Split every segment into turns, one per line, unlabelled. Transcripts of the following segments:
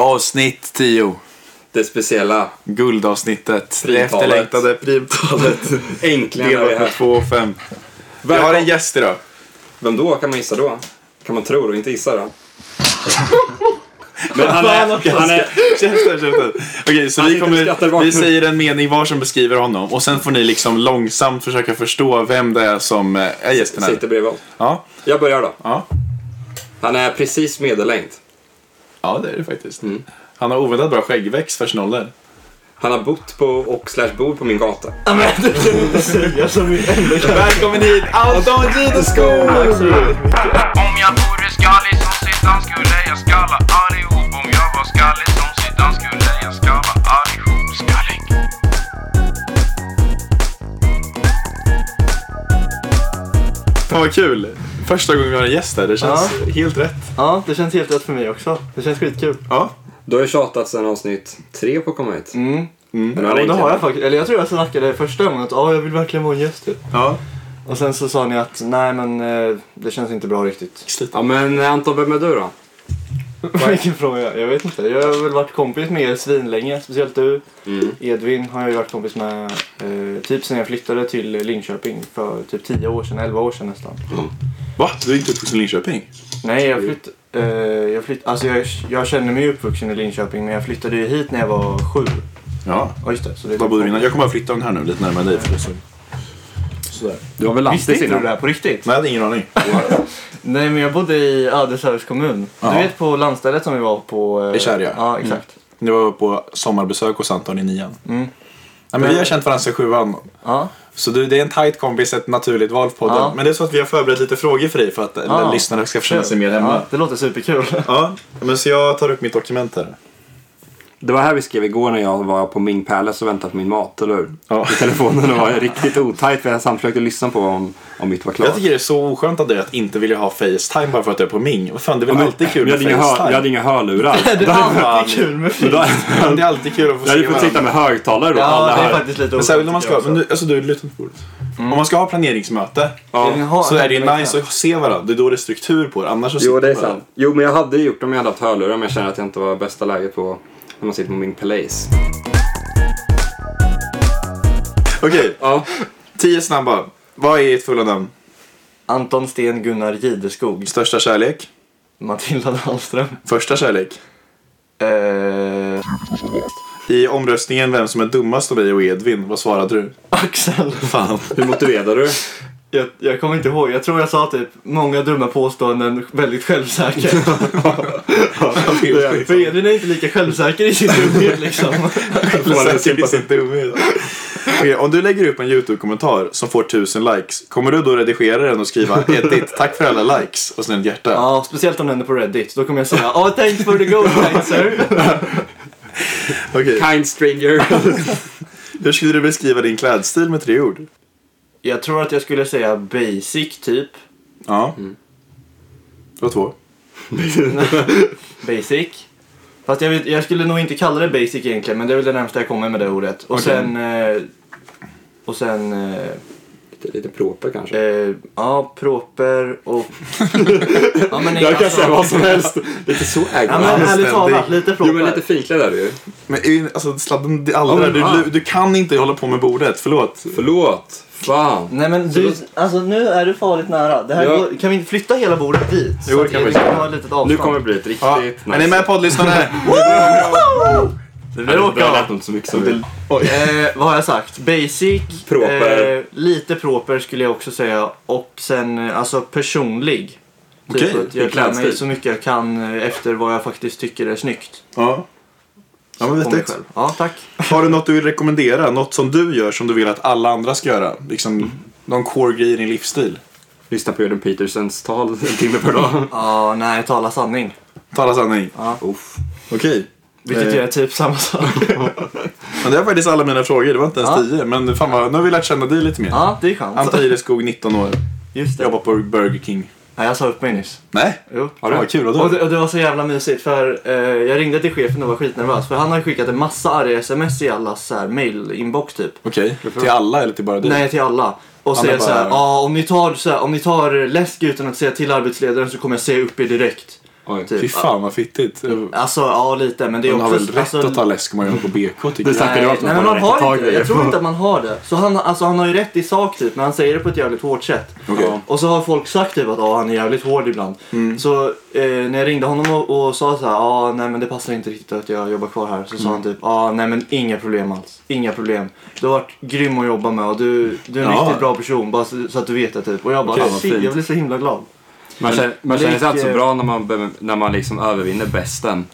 Avsnitt 10.
Det speciella.
Guldavsnittet. Det
Primtalet.
efterlängtade primtalet.
Äntligen är vi
Delat på
här.
2 och 5. Vi har en gäst idag.
Vem då? Kan man gissa då? Kan man tro då? Inte gissa då?
Men han
Fan, vad
han är... Käften, käften. Okej, så
Han
vi,
sitter och skrattar
kommer,
bakom.
vi säger en mening var som beskriver honom och sen får ni liksom långsamt försöka förstå vem det är som eh, är gästen här.
Sitter bredvid oss.
Ja,
Jag börjar då.
ja.
Han är precis medellängd.
ja, det är det faktiskt.
Mm.
Han har oväntat bra skäggväxt för sin ålder.
Han har bott på och slash bor på min gata.
Välkommen hit, Anton Gideskog!
Om jag vore skallig som Zidane skulle jag skalla allihop Om jag var skallig som Zidane skulle jag skalla allihop Skallig
Fan vad kul! Första gången vi har en gäst här, det känns helt rätt.
Ja, det känns helt rätt för mig också. Det känns skitkul.
Ja,
Du har ju tjatat sedan avsnitt tre på att komma hit.
Mm.
Men
Ja,
han är
men det
inte
har
här.
jag faktiskt. Eller jag tror jag snackade första gången att ja, jag vill verkligen vara en gäst typ.
ja.
Och sen så sa ni att nej men eh, det känns inte bra riktigt.
Ja men Anton, vem är du då?
Vilken fråga. Jag vet inte. Jag har väl varit kompis med er svinlänge. Speciellt du. Edvin har jag ju varit kompis med eh, typ sen jag flyttade till Linköping för typ 10 år sedan, 11 år sedan nästan.
Va? Du är inte uppvuxen i Linköping?
Nej, jag flytt... Eh, jag flytt... Alltså jag, jag känner mig uppvuxen i Linköping men jag flyttade ju hit när jag var sju.
Ja.
Ja just det. Så det är
Var
typ-
bor du innan? Jag kommer att flytta den här nu lite närmare dig. förresten. Sådär.
Du har väl
Visste inte du det här på riktigt?
Nej, jag hade ingen aning.
Nej men jag bodde i Adelsövs kommun.
Ja.
Du vet på landstället som vi var på? eh,
I Mm. Kärja.
Ja exakt.
Det var på sommarbesök hos Anton i nian.
Mm.
Nej, men vi har känt varandra sedan sjuan.
Ja.
Så du, det är en tight kompis, ett naturligt val för podden.
Ja.
Men det är så att vi har förberett lite frågor för dig för att
Ja.
ah. lyssnarna ska känna sig mer hemma.
Ja, det låter superkul.
Ja. men så jag tar upp mitt dokument här.
Det var här vi skrev igår när jag var på Ming Palace och väntade på min mat, eller hur?
Ja.
I telefonen och var riktigt otajt för jag samt försökte lyssna på om, om mitt var klart.
Jag tycker det är så oskönt av dig att inte vilja ha Facetime bara för att du är på Ming. Vad fan, det är
Ja,
väl
men-
alltid kul
jag
med
hade, inga hör, jag hade
Facetime?
inga hörlurar.
det är
fan.
alltid kul med
Men
film.
då-
Ja, Det är alltid kul att få
Jag hade fått sitta med högtalare då.
Ja,
alla
det är
hör-
faktiskt lite
Men särskilt om man ska,
otäckt,
men du, alltså du lyssnar på ordet. Om man ska ha planeringsmöte
Jag har-
så är det ju
jag
nice att se varandra. Det är då det är struktur på det. Annars så
Jo,
sitter
det är
man-
sant. Jo, men jag hade gjort det om jag hade haft hörlurar, men jag känner att jag inte var i bästa läget på när man sitter på min Palace.
Okej,
Ja.
tio snabba. Vad är ert fulla namn?
Anton Sten Gunnar Gideskog.
Största kärlek?
Matilda Dahlström.
Första kärlek?
Eh,
I omröstningen vem som är dummast av mig och Edvin, vad svarade du?
Axel.
Fan.
Hur motiverar du?
Jag, jag kommer inte ihåg. Jag tror jag sa typ många dumma påståenden, väldigt självsäker. För Edvin är inte lika självsäker i sin dumhet liksom.
Säker på sin dumhet. Okej, om du lägger upp en YouTube-kommentar som får 1000 likes, kommer du då redigera den och skriva edit, tack för alla likes och sen ett hjärta?
Ja, speciellt om den är på Reddit. Då kommer jag säga oh, thanks for the gold light sir.
Okej.
Kind stranger.
Hur skulle du beskriva din klädstil med tre ord?
Jag tror att jag skulle säga basic typ.
Ja. Det var två.
Basic. Fast jag, vet, jag skulle nog inte kalla det basic egentligen men det är väl det närmsta jag kommer med det ordet. Och
Okej.
sen... Eh, och sen... Eh,
lite, lite proper kanske.
eh, ja, proper och... ja, men
Jag kan säga vad som helst. Lite så äger
Ja,
man.
men ärligt talat,
Anständig.
lite proper.
Jo, men lite finklädd är du ju.
Men in- alltså sladden, det aldrig,
Ja, men
där.
fan.
du, du kan inte hålla på med bordet, förlåt.
Förlåt. Fan.
Nej men du, alltså nu är du farligt nära. Det här
Ja.
går, kan vi inte flytta hela bordet dit?
Jo,
så
det kan
att
vi.
vi kan ha ett litet avstånd.
Nu kommer det bli ett riktigt
Ja.
nice.
Är ni med poddlyssnare?
Det
råkar-
lät inte så mycket som det.
Eh, vad har jag sagt? Basic,
Proper.
Eh, lite proper skulle jag också säga och sen eh, alltså personlig. Typ
Okej,
att jag
i
klär mig
klädstil.
så mycket jag kan eh, efter vad jag faktiskt tycker är snyggt.
ja. Ja, men
om mig
vettigt.
själv. Ja, tack.
Har du något du vill rekommendera? Något som du gör som du vill att alla andra ska göra? Liksom någon core grej i din livsstil?
Lyssna på Jordan Petersons tal en timme per dag.
Ja, nej, tala sanning.
Tala sanning.
Uff.
Okej.
Vilket
Eh,
ju är typ samma sak.
Men det var faktiskt alla mina frågor. Det var inte ens
Ja.
tio. Men fan vad, nu har vi lärt känna dig lite mer.
Ja, det är skönt.
Anton Ireskog, 19 år.
Just det.
Jobbar på Burger King.
Nej, jag sa upp mig nyss.
Nej?
Jo.
Ja, det var kul.
Och
Vadå?
det, och det var så jävla mysigt för eh, jag ringde till chefen och var skitnervös för han har ju skickat en massa arga sms i allas så här, mail-inbox typ.
Okej. Till alla eller till bara dig?
Nej, till alla. Och
Ja,
säger
men Typ. bara-
såhär, ah, om, ni tar, så här, om ni tar läsk utan att säga till arbetsledaren så kommer jag säga upp er direkt.
Oj.
Fy
Typ.
fan vad fittigt.
Alltså ja lite men det är
Man har
också...
väl rätt
alltså,
att ta läsk om man gör på BK tycker
Det
jag.
snackar du om
Nej,
att
nej
man
men
har
man
rätt att ta
har inte,
grejer.
jag tror inte att man har det. Så han, alltså, han har ju rätt i sak typ, men han säger det på ett jävligt hårt sätt.
Okej.
Och så har folk sagt typ att "Ja, han är jävligt hård ibland.
Mm.
Så eh, när jag ringde honom och, och sa så här, ja nej men det passar inte riktigt att jag jobbar kvar här. Så
Mm.
sa han typ, ja nej men inga problem alls. Inga problem. Du har varit grym att jobba med och du, du är en
Ja.
riktigt bra person bara så, så att du vet det typ. Och jag bara,
Okej, vad
shit
fint.
jag blir så himla glad.
Man känner, man känner sig
Lik,
alltså
eh,
bra när man, be- när man liksom övervinner bästen.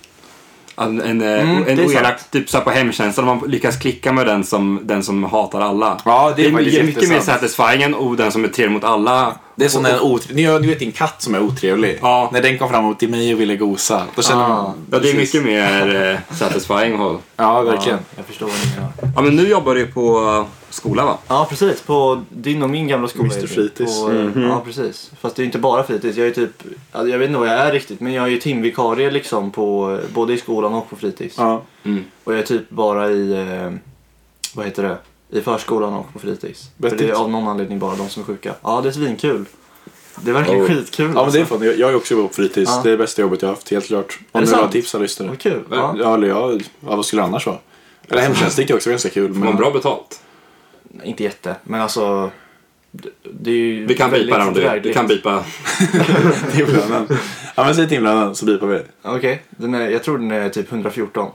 En, en, eh,
Mm,
en
det är
oelak typ så här på hemtjänsten, man lyckas klicka med den som, den som hatar alla.
Ja, det är faktiskt
mycket mycket mer
jättesant.
satisfying än oh, den som är trevlig mot alla.
Det är som när en otre... ni, har- ni vet din katt som är otrevlig.
Ja.
När den kom fram till mig och ville gosa. Då
Ah.
känner man...
Ja, det är mycket mer eh, satisfying. håll.
Ja, verkligen.
Ja, jag förstår vad ni menar.
Ja, men nu jobbar du på eh, skola va?
Ja precis, på din och min gamla skola.
Mr.
är det.
Fritids.
På, eh, Ja precis. Fast det är inte bara fritids. Jag är typ, ja, jag vet inte vad jag är riktigt men jag är ju timvikarie liksom på, eh, både i skolan och på fritids.
Ja.
Och jag är typ bara i, eh, vad heter det, i förskolan och på fritids. För det
Vettigt.
är av någon anledning bara de som är sjuka. Ja det är svinkul. Det är verkligen
Oh.
skitkul.
Ja, men det är
alltså.
fan, jag jag har ju också jobbat på fritids.
Ja.
Ah.
Det är det bästa jobbet jag har haft, helt klart. Om
det
du har
sant?
tips så lyssnar du.
Vad kul.
Ja,
Ja.
eller jag, ja, vad skulle det annars vara? Eller hemtjänst gick ju också ganska kul.
Får man bra betalt?
Nej, Inte jätte, men alltså. Det, det är ju
Vi kan
väldigt
bipa den om du Vi
drägligt.
kan bipa.
Timlönen. Ja, men säg timlönen så bipar vi det.
Okej, Den är- jag tror den är typ 114.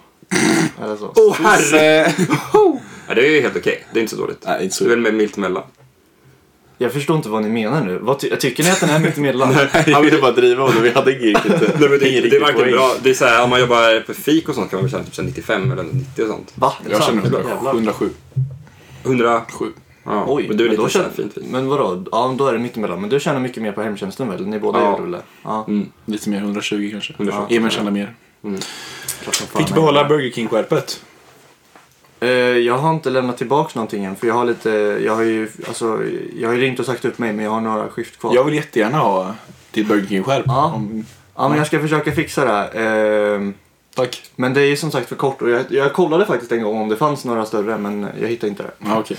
Eller så.
Åh oh, herre!
Ja, det är ju helt okej. Det är inte så dåligt.
Nej, inte
Det är
så.
väl mer milt emellan.
Jag förstår inte vad ni menar nu. Vad ty- tycker ni att den är mitt emellan?
Han ville bara driva och vi hade inget riktigt...
Nej, men det, det,
ingen
det är
riktig
verkligen
poäng.
bra. Det är så här, om man jobbar på fik och sånt kan man väl tjäna typ så här 95 eller 90 och sånt.
Va? Är det
Jag känner
sant?
100,
Jävlar.
107.
107. Ja,
Oj,
men du är lite
då
så här
känner...
fint. fint.
Men vadå? Ja, då är det mitt emellan. Men du tjänar mycket mer på hemtjänsten väl? Ni båda
Ja.
gör det väl? Ja.
Lite mer, 120 kanske.
120.
Emil tjänar mer.
klart som fan.
Fick du behålla Burger King-skärpet?
Eh, jag har inte lämnat tillbaka någonting än. För jag har lite... Jag har ju, alltså, jag har ju ringt och sagt upp mig men jag har några skift kvar.
Jag vill jättegärna ha ditt Burger King-skärp.
Ja.
Om-
Ja, men jag ska försöka fixa det här. Ehm,
Tack.
men det är ju som sagt för kort och jag, jag kollade faktiskt en gång om det fanns några större men jag hittade inte det.
Ja, okej.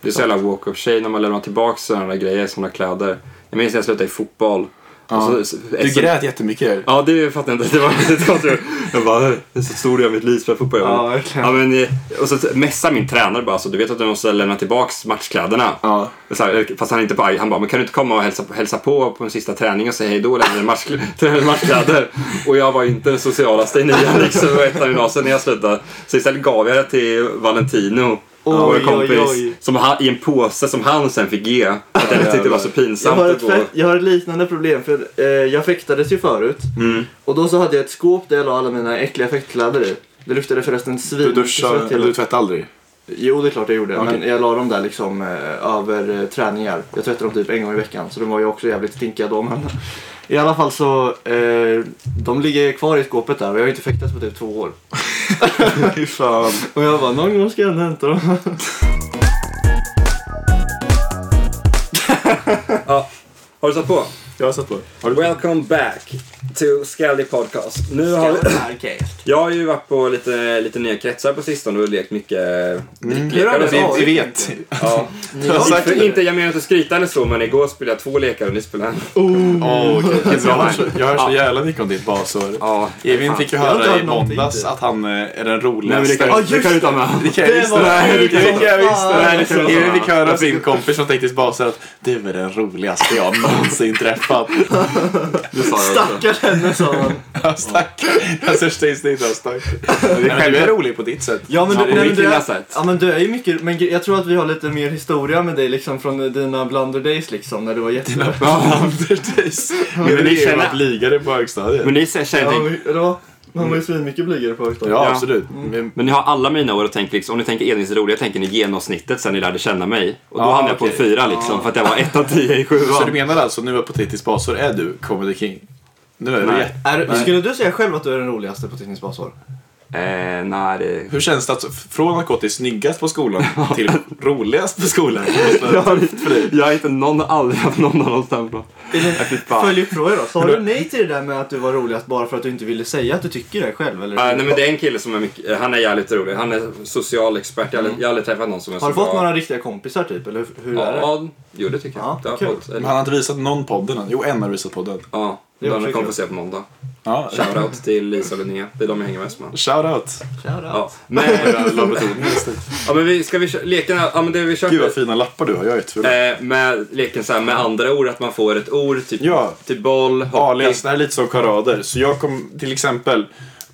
Det är så jävla walk of shame när man lämnar tillbaka sådana där grejer, sådana kläder. Jag minns när jag slutade i fotboll.
Ja.
Och så-
Du grät jättemycket.
Ja, det fattar jag inte. Det var väldigt konstigt. Jag bara, det är så stor del av mitt liv spelar fotboll.
Mm.
Ja, verkligen.
Ja, men, eh, och så messar min tränare bara, så du vet att du måste lämna tillbaka matchkläderna.
Ja.
Så här, fast han är inte på arg. Han bara, men kan du inte komma och hälsa, på- hälsa på på den sista träningen och säga hej då och lämna dina matchkl- matchkläder? Och jag var ju inte den socialaste i nian liksom, och ettan i gymnasiet när jag slutade. Så istället gav jag det till Valentino. vår
Oj,
kompis,
oj, oj.
Som han, i en påse som han sen fick ge. Att jag tyckte det var så pinsamt
Jag har,
att
ett
gå.
fett, jag har ett liknande problem för eh, jag fäktades ju förut.
Mm.
Och då så hade jag ett skåp där jag la alla mina äckliga fäktkläder i. Det luktade förresten svin.
Du duschar,
svett hela-
eller du tvättar aldrig?
Jo det är klart jag gjorde.
Okej.
Men jag la dem där liksom eh, över eh, träningar. Jag tvättade dem typ en gång i veckan så de var ju också jävligt stinkiga då. Men i alla fall så, eh, de ligger kvar i skåpet där och jag har ju inte fäktats på typ två år.
Fy fan.
Och jag bara, någon gång ska jag ändå hämta dem.
Har du satt på?
Jag har satt på.
Welcome back to Skallig Podcast. Nu har vi... Jag har ju varit på lite, lite nya kretsar på sistone och lekt mycket dricklekar och sånt.
Vi vet.
Ja.
Jag har sagt
Inte,
det.
inte, jag menar inte skryta eller så, men igår spelade jag två lekar och ni spelade en.
Åh, vilken bra. Jag hör så- jag hör så jävla mycket om ditt basår.
Ja,
Evin fick ju
har inte
höra
hört
i
någonting.
måndags att han eh, är den
Nej, men det
roligaste.
kan, det kan du ta med.
Det kan jag visst. Nej, det kan jag visst. Nej, det kan jag visst. Evin fick höra av sin kompis från Teknisk Basar att du är den roligaste jag någonsin träffat.
Det sa jag också.
Stackars henne sa han.
Ja, Stackare. Den största instinkten. Stackare. Men Du är rolig på ditt sätt.
Ja men,
Ja,
du,
på
nej, men
mitt
du,
lilla
är,
sätt.
ja men du är ju mycket, men gre- jag tror att vi har lite mer historia med dig liksom från dina blunder days liksom när du var jätte...
Anders Men
ni
det är ju
känner-
att ligare på högstadiet.
Men ni ser- känner
Ja,
inte...
men- ja, man var ju svinmycket blygare på högstadiet.
Ja,
Ja.
absolut. Men-
Men ni har alla mina år och tänker liksom, om ni tänker Edvins roliga, tänker ni genomsnittet sen ni lärde känna mig. Och då
Ja,
hamnade jag på en
okej.
fyra liksom, för att jag var ett av tio i sjuan.
Så du menar alltså nu på Titis basår är du Comedy King? Nu är du
Nej.
jätte...
Är, du- skulle du säga själv att du är den roligaste på Teknisk basår?
Eh, nej, det...
Hur känns det att från att gått till snyggast på skolan till roligast på skolan? Måste-
Jag har, jag har inte någon, aldrig haft någon av dem stämplar. Nej, fy fan.
Följ upp frågan då. Sa du nej till det där med att du var roligast bara för att du inte ville säga att du tycker det själv? Eller?
Ja, Eh, nej men det är en kille som är mycket, eh, han är jävligt rolig. Han är social expert. Jag har,
Mm.
aldrig- jag har aldrig träffat någon som är
har du
så
fått
bra.
några riktiga kompisar typ? Eller hur- hur är det?
Ja, jo det tycker jag.
Ja,
det har jag
kul.
fått.
Men
Eller-
han har inte visat någon podden än. Jo, en har visat podden.
Ja.
Det är
Bland
också
kommer
kul.
få se på måndag.
Ja,
Shoutout till Lisa och Linnea. Det är de jag hänger mest med.
Shoutout.
Ja, men, ja, men vi, ska vi kö- leken, ja, men det vi kör
Gud vad fina lappar du har. Jag är tur.
eh, med leken så här med andra ord, att man får ett ord, typ,
Ja.
typ boll, hockey.
alias, det här är lite som charader. Så jag kom till exempel,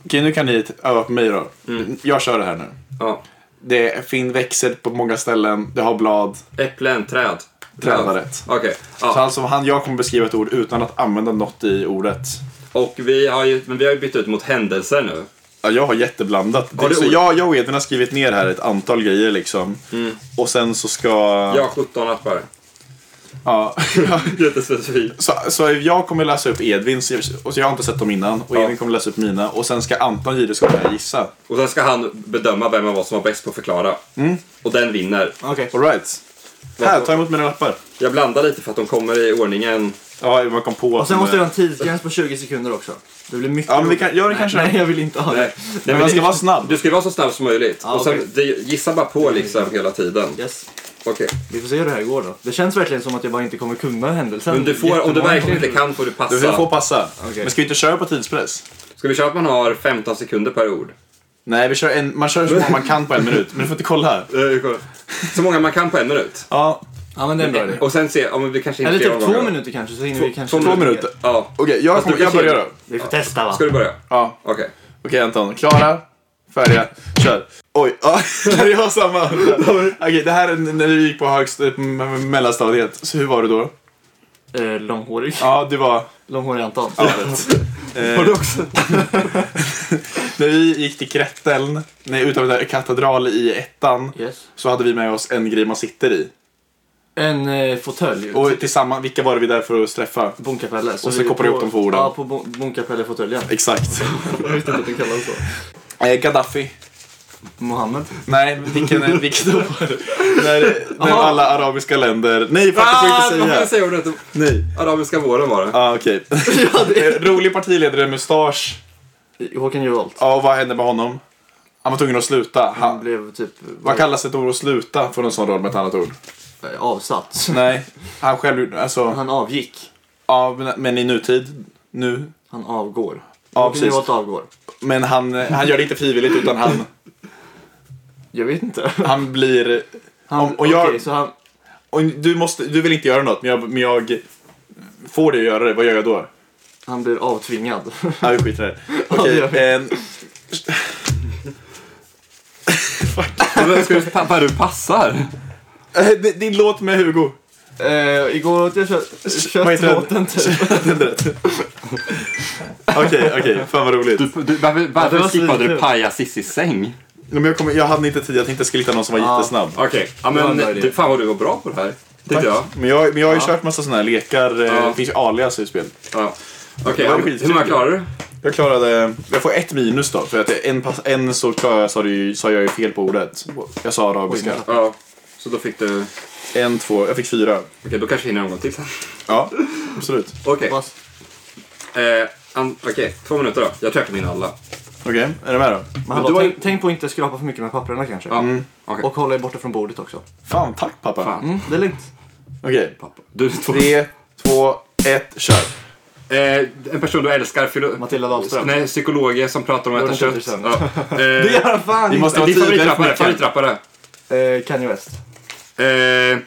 okej nu kan ni t- öva på mig då.
Mm.
Jag kör det här nu.
Ja.
Det är fin växel på många ställen, det har blad.
Äpplen, träd.
Träd var
Ja.
rätt.
Okej.
Så
Ja.
alltså han, jag kommer beskriva ett ord utan att använda något i ordet.
Och vi har ju, men vi har ju bytt ut mot händelser nu.
Ja, jag har jätteblandat. Det,
Har du
så
ord?
jag, jag och Edvin har skrivit ner här ett antal grejer liksom.
Mm.
Och sen så ska...
Jag har 17 lappar.
Ja.
Jättespecifikt.
så, så jag kommer läsa upp Edvins, och jag har inte sett dem innan. Och
Ja.
Edvin kommer läsa upp mina. Och sen ska Anton Gideskog här gissa.
Och sen ska han bedöma vem av oss som var bäst på att förklara. Och den vinner.
Alright. Här, ta emot mina lappar.
Jag blandar lite för att de kommer i ordningen.
Ja, man kom på...
Och sen måste jag ha en tidsgräns på 20 sekunder också. Det blir mycket
Ja, men vi kan,
roligare.
gör det kanske.
Nej, jag vill inte ha det.
Nej, men
man
det-
ska vara snabb.
Du ska ju vara så snabb som möjligt.
Ja,
och sen,
okej.
det, gissa bara på liksom hela tiden.
Yes.
Okej.
Vi får se hur det här går då. Det känns verkligen som att jag bara inte kommer kunna händelsen.
Men du får, om du
Jättemånga
verkligen
gånger.
inte kan får du passa.
Du får passa.
Okej.
Men ska vi inte köra på tidspress?
Ska vi köra att man har 15 sekunder per ord?
Nej, vi kör en, man kör så många man kan på en minut. Men du får inte kolla här.
Eh,
Så många man kan på en minut.
Ja,
Ja, men det är en bra idé.
Och sen se om vi kanske inte
Eller
fler
typ
omgångar
två
då.
minuter kanske så hinner vi kanske...
två minuter.
Ja.
Okej, jag,
Fast
kommer-
du
jag
kanske-
börjar då.
Vi får testa va?
Ska du börja?
Ja.
Okej.
Okej Anton, klara, färdiga, kör. Oj, ja, jag har samma. Okej, det här är när du gick på högst, eh, m- m- mellanstadiet. Så hur var du då?
Eh, långhårig.
Ja, du var...
Långhårig Anton.
Ja, rätt. Eh,
också?
när vi gick till Krätteln, nej, utanför katedral i ettan,
Yes.
så hade vi med oss en grej man sitter i.
En eh, fåtölj.
Och tillsammans, vilka var det vi där för att träffa?
Bonkapelle.
Och så kopplar du ihop dem på orden.
Ja, på bon- bonkapelle-fåtöljen.
Exakt.
Jag visste inte att den kallades så.
Eh, Gaddafi.
Mohammed.
Nej, vilken, vilken då var det? När, när
Aha.
alla arabiska länder... Nej, fan,
Ah,
jag får
man
inte säga.
kan säga ordet.
Nej.
Arabiska våren var det.
Ah, okej. Eh, Rolig partiledare, mustasch.
Håkan Juholt.
Ja, och vad hände med honom? Han var tvungen att sluta.
Han
Han,
blev typ
vad kallas ett ord att sluta från en sån roll med ett annat ord?
eh, avsatt.
Nej, han själv gjorde- alltså,
Han avgick.
ja, men- men i nutid, nu.
Han avgår.
Ja,
Håkan
precis.
Juholt avgår.
Men han, han gör det inte frivilligt utan han,
Jag vet inte.
han blir...
Han,
Om- och jag-
okej, så han,
Och du, måste, du vill inte göra något, men jag, men jag får dig att göra det. Vad gör jag då?
han blir avtvingad.
Ja, vi skiter i det.
det
Okej, ehm,
gör vi.
en,
Men Ska du pappa, du passar?
eh, din- din låt med Hugo.
eh, igår åt jag kött,
vad heter den?
köttbåten typ.
Det är rätt. Okej, okej. Fan vad roligt.
Du, du, varför varför
det var
skippade du
svinkul.
paja Cissis säng?
Men jag, kommer, jag hade inte tid, jag tänkte jag skulle hitta någon som var
Ja.
jättesnabb.
Okej, ja,
Det var en
men
bra idé.
du, fan vad du var bra på det här. Tyckte jag.
Men jag, men jag har ju kört massa såna här lekar. eh,
Ja.
Det finns ju alias i spel.
Ja. Okej,
Det var
hur
skitkul.
många klarar du?
Jag klarade... Jag får ett minus då. För att en, pass, en så klarade jag, sa, det ju, sa jag ju fel på ordet. Jag sa arabiska.
Ja. Så då fick du... Okej,
En, två, jag fick fyra.
då kanske vi hinner en gång till sen.
Ja, absolut.
Okej.
Pass.
Eh, an- Okej, två minuter då. Jag tror jag kan vinna alla.
Okej, är du med då?
Men hallå,
du har ju-
tänk, tänk på att inte skrapa för mycket med papperna kanske.
Ja. Okej.
Mm. Och hålla er borta från bordet också.
Fan, tack pappa.
Fan.
Mm, det är lugnt.
Okej.
Pappa. Du är två.
Tre, två, ett, kör.
Eh, en person du älskar, filo-
Matilda Dahlström.
Nej, psykologer som pratar om att äta
Jordan
kött.
Peterson.
Ja.
Det
Eh,
gör han fan
Vi måste
inte.
ha
din
tid
favoritrappare,
efter veckan.
favoritrappare.
Eh, Kanye West.
Eh,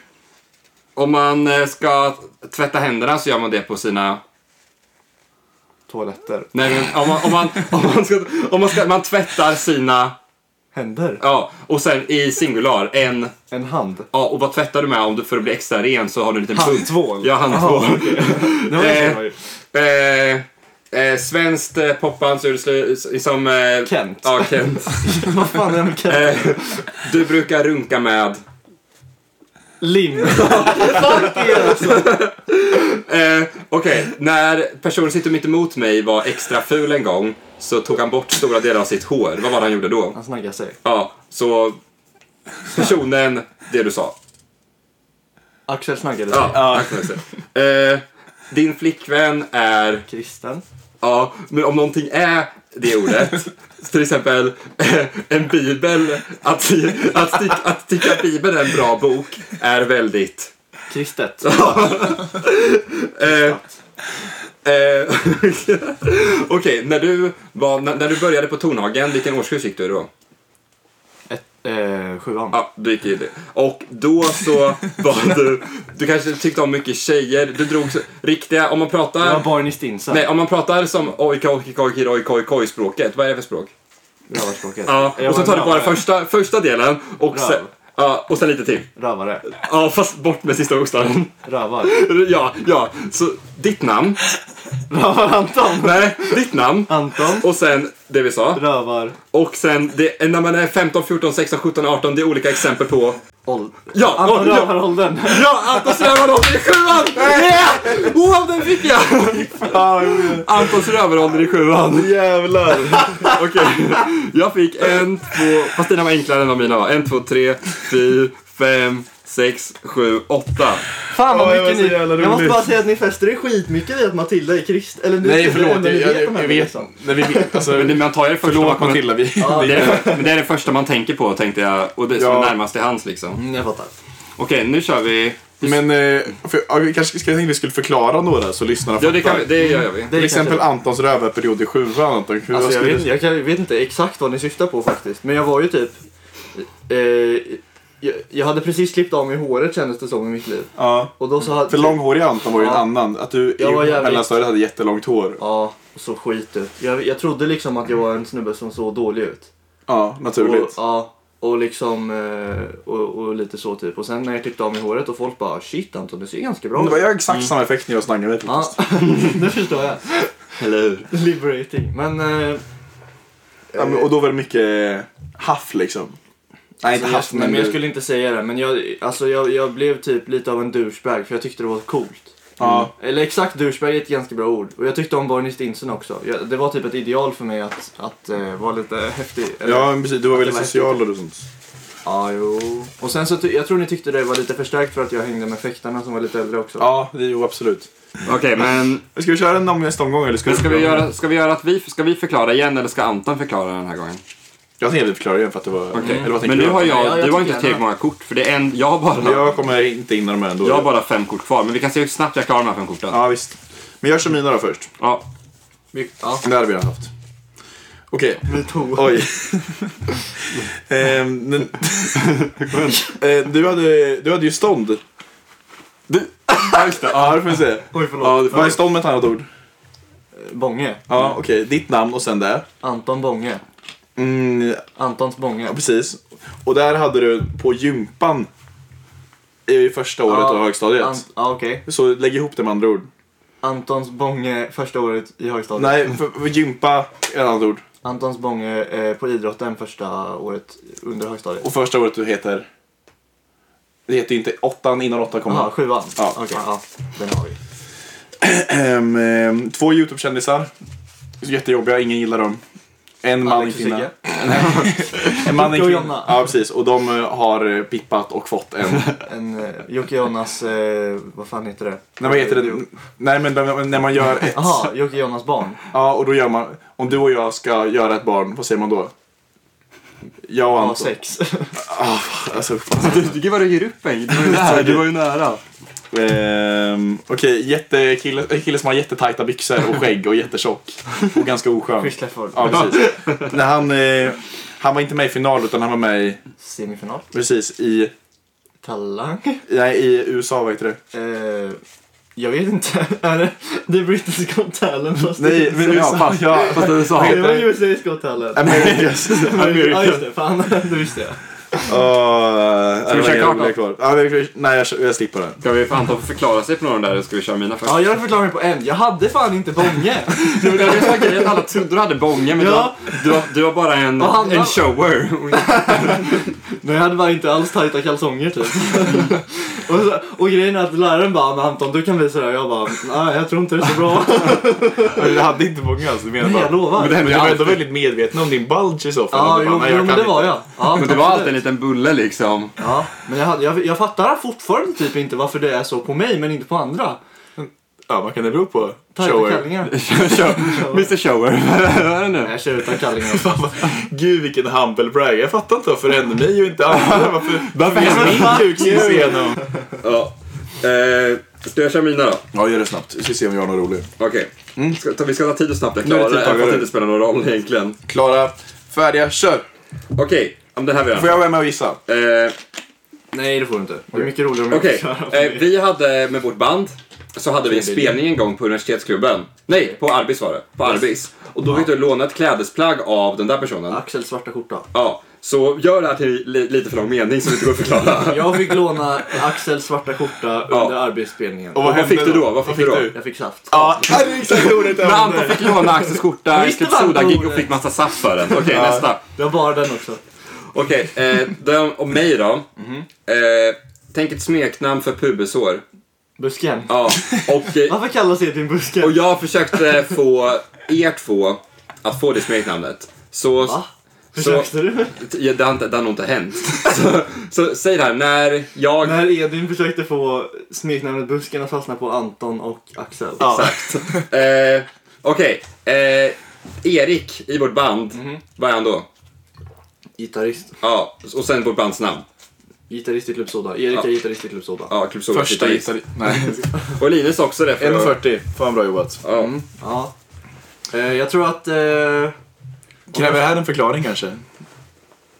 om man eh, ska tvätta händerna så gör man det på sina...
Toaletter.
Nej, men om man, om man, om man, ska, om man, ska, man tvättar sina...
Händer.
Ja, och sen i singular, en...
En hand.
Ja, och vad tvättar du med om du, för att bli extra ren så har du en liten pump.
Handtvål.
Ja, handtvål.
Det var
Eh,
det.
Eh, eh, svenskt eh, popband så är det slu- som... Eh,
Kent.
Ja, Kent.
Vad fan är det med Kanye?
Eh, du brukar runka med...
Lim.
Eh, Okej, när personen sitter mitt emot mig var extra ful en gång så tog han bort stora delar av sitt hår. Vad var det han gjorde då?
Han snaggar sig.
Ja, så personen, det du sa.
Axel snaggade sig.
Ja, tack så mycket. eh, Din flickvän är,
Kristen.
ja, men om någonting är det ordet, till exempel eh, en bibel, att, att, tycka, att tycka bibeln är en bra bok är väldigt
Kristet.
Eh, Eh, Okej, när, du var, när, när du började på Tornhagen, vilken årskurs gick du då?
Eh, sjuan.
Ja, du gick i det. Och då så var du... Du kanske tyckte om mycket tjejer. Du drog så- riktiga... Om man
Det
pratar...
var Barney Stinson.
Nej, om man pratar som ojk, ojk, ojk, ojk, ojk, oj språket Vad är det för språk?
Rövarspråket.
Ja,
Jag
och så
var
tar du
en
bara
rövare.
första, första delen och sen...
Röv.
Ja, och sen lite till.
Rövare.
Ja, fast bort med sista bokstaven.
Rövar.
Ja, ja. Så ditt namn.
Rövar Anton.
Nej, ditt namn.
Anton.
Och sen det vi sa.
Rövar.
Och sen, det, när man är 15, 14, 16, 17, 18, det är olika exempel på...
Åld-
Ja,
Anton
ja, ja,
Rövaråldern.
ja, Antons rövarålder i sjuan! Yeah! Wow, den fick jag! Antons rövarålder i sjuan.
Jävlar.
Okej, jag fick en, två, fast dina var enklare än vad mina var. En, två, tre, fyra, fem, sex, sju, åtta.
Fan
Ja,
vad
det var
mycket
så
ni...
jävla
Jag måste
roligt.
bara säga att ni fäster er skitmycket vid att Matilda är krist. Eller nu
Nej, förlåt. Jag,
Ni
jag,
vet de
jag,
här
vet.
liksom.
Nej, vi vet. Alltså,
Men det, man tar ju det första
förlåt
man kommer...
Matilda. Vi,
Det är, det- men det är det första man tänker på, tänkte jag. Och det som
Ja.
är närmast till hands liksom.
Mm, jag fattar.
Okej, nu kör vi.
Men eh, för, ja, vi kanske ska, jag tänkte vi skulle förklara några så lyssnarna
Ja, det, kan, vi-
fattar.
det gör vi.
Det är
Till exempel
kanske-
Antons rövarperiod i sjuan. Anton. Hur- vad
Alltså, jag,
skulle-
vet, jag, kan, vet inte exakt vad ni syftar på faktiskt. Men jag var ju typ... Eh, jag, jag hade precis klippt av mig håret kändes det som i mitt liv.
ja.
Och då så hade...
För långhårig Anton var ju en
Alltså, Ja.
annan. Att du i
Jag var jävligt-
mellanstadiet hade jättelångt hår.
Ja, så skit du. Jag, jag trodde liksom att jag var en snubbe som såg dålig ut.
Ja,
Och,
naturligt.
ja, och liksom... eh, Och, och lite så typ. Och sen när jag klippte av mig håret och folk bara shit Anton du ser ganska bra
Det
ut.
var ju exakt samma effekt när jag snaggade mig
Mm. Ja,
faktiskt.
nu förstår jag.
Eller hur?
Liberating. Men... Eh,
Ja, men, och då var det mycket eh, haff liksom. Nej, inte haff
jag, nej,
men...
Alltså, men jag
du-
skulle inte säga det. Men jag, alltså, jag, jag blev typ lite av en douchebag för jag tyckte det var coolt.
Ja.
Eller exakt, douchebag är ett ganska bra ord. Och jag tyckte om Barney Stinson också. Jag, det var typ ett ideal för mig att, att eh, vara lite häftig. Eller,
Ja, men precis. Du var väldigt
var
social och sånt.
Ja, jo. Och sen så, ty- jag tror ni tyckte det var lite förstärkt för att jag hängde med fäktarna som var lite äldre också.
Ja, det- jo absolut.
Okej, men
Ska vi köra en om- nästa omgång eller ska,
Men ska vi göra, ska vi göra att vi, ska vi förklara igen eller ska Anton förklara den här gången?
Jag tänker att vi förklarar igen för att det var...
Okej.
Mm. Eller vad tänker
Men nu
du?
har jag,
Ja, jag
du har
tycker
inte
gärna.
tillräckligt många kort för det är en, jag har bara, jag
Jag kommer inte in i de här ändå.
har bara fem kort kvar. Men vi kan se hur snabbt jag klarar de här fem korten. Ja.
Ja, visst. Men gör som mina då först.
Vi, ja.
Det hade vi redan haft. Okej.
vi tog.
Oj. Ehm, men- Eh, du, hade, du hade ju stånd.
Du, ja, just det. Ja.
Ja, det får vi se.
Oj, förlåt.
Ja, Vad är stånd med ett annat ord?
Bånge.
Ja, okej. Ditt namn och sen det.
Anton Bånge.
Mm,
Antons Bånge.
Ja, precis. Och där hade du på gympan i första året
Ja,
av högstadiet.
Ant- Ja, okej.
Så lägg ihop det med andra ord.
Antons Bånge första året i högstadiet.
Nej, för, för gympa är ett annat ord.
Antons Bånge eh, på idrotten första året under högstadiet.
Och första året du heter... Det heter ju inte åttan innan åttan kommer.
Jaha, sjuan?
Ja.
Okej, ja. Den har vi.
Ehm, ehm, två Youtube-kändisar. Jättejobbiga, ingen gillar dem. En man, en
Alex och
kvinna.
Sigge.
En man, en
Jocke och
kvinna.
Jonna.
Ja, precis. Och de eh, har eh, pippat och fått en...
En eh, Jocke Jonas, eh, vad fan heter det?
När man heter det... Nej, men när- när man gör ett...
Jaha, Jocke Jonas barn.
Ja, och då gör man... Om du och jag ska göra ett barn, vad säger man då? Jag och
Ja,
Anton.
sex.
Ah, alltså, fan.
Du, gud vad du ger upp en. Du var ju nära. Du var ju nära.
Ehm, Okej, jättekille en kille som har jättetajta byxor och skägg och jättetjock. Och ganska oskön.
Chris Lefford.
Ja, precis. När han, eh, han var inte med i final utan han var med i,
Semifinal.
precis i,
Talang.
nej, i USA, vad heter det?
Eh, jag vet inte. Är det, det är British Got Talent fast
Nej,
det
men USA.
Ja,
Ja,
fast, fast du sa.
Det var USA's Got Talent.
Americas.
Ja just
Americas.
det, fan det visste jag.
Ska
vi köra klart då?
kvar? Ja, vi- Nej, jag, kör- jag slipper den.
Ska vi få Anton få förklara sig på någon där eller ska vi köra mina först?
Ja, jag förklarar mig på en. Jag hade fan inte Bånge.
Det var det som var grejen. Alla trodde du hade bånge men du, har,
Ja.
du, har, du har bara en,
Och han-
en shower.
Men jag hade bara inte alls tajta kalsonger typ. och, så, och grejen är att läraren bara, men Anton du kan visa det här. Jag bara, nej jag tror inte det är så bra.
Du hade inte många alltså, du menar
Nej, jag lovar.
Men du
Men
var
det
ändå
alltid-
väldigt medveten om din bulge i så fall.
Ja,
Du bara,
jo,
nej,
jo
jag
men
kan
det var
inte.
jag. Ja,
Men det var alltid en
absolut.
liten bulle liksom.
Ja, men jag, hade, jag, jag fattar fortfarande typ inte varför det är så på mig men inte på andra.
Ja, vad kan det bero på?
Tajta kallingar.
Mr Shower. Vad är det nu?
Nej, jag kör utan kallingar också.
Gud vilken humble brag. Jag fattar inte varför det hände mig och inte andra. Varför
Varför
är min kuk som ser igenom?
Ja. Eh, Ska jag köra mina då?
Ja, gör det snabbt. Vi ska se om vi har något roligt.
Okej. Ska ta- Vi ska ta tid och snabbt. Jag
Nu är det
klarar Mm. det, även
tidtagare.
fast det inte spelar någon roll egentligen.
Klara, färdiga, kör!
Okej, ja, men det här vi
Får
gör.
jag vara med och gissa?
Eh,
Nej, det får du inte. Det är mycket roligare om
Okej,
jag får köra.
eh, vi hade med vårt band så hade vi en spelning en gång på universitetsklubben. Nej, på Arbis var det. På Arbis. Och då fick du låna ett klädesplagg av den där personen.
Axels svarta skjorta.
Ja, så gör det här till li- lite för lång mening så det inte går att förklara.
Jag fick låna Axels svarta skjorta
Ja.
under arbetsspelningen.
Och vad fick du då? Vad fick du då?
Jag fick saft.
Ja, det är exakt ordet jag
Men
använde.
Anton fick låna Axels skjorta,
Visst, det
skrev
var
sodagig och
roligt.
fick massa saft för den. Okej, nästa.
Jag bar den också.
Okej, eh, den om mig då.
Mhm.
Eh, tänk ett smeknamn för pubesår.
Busken.
Ja, och, eh,
Varför kallas det din buske?
och jag försökte få er två att få det smeknamnet. Så,
Va?
så
Försökte du?
ja, det, har inte, det har nog inte hänt. Så, så säg det här, när jag...
När Edvin försökte få smeknamnet Busken att fastna på Anton och Axel.
Exakt. Eh, Okej, eh, Erik i vårt band, vad är han då?
Gitarrist.
Ja, och sen vårt bands namn.
Gitarrist i Club Soda. Erik
Ja.
är gitarrist i Club Soda.
Ja, Club Soda
Första
gitarrist.
gitarrist. Nej.
Och Linus också det. att-
1,40. Fan bra jobbat.
Ja.
Ja. Eh, jag tror att... Eh,
Kräver det här en förklaring kanske?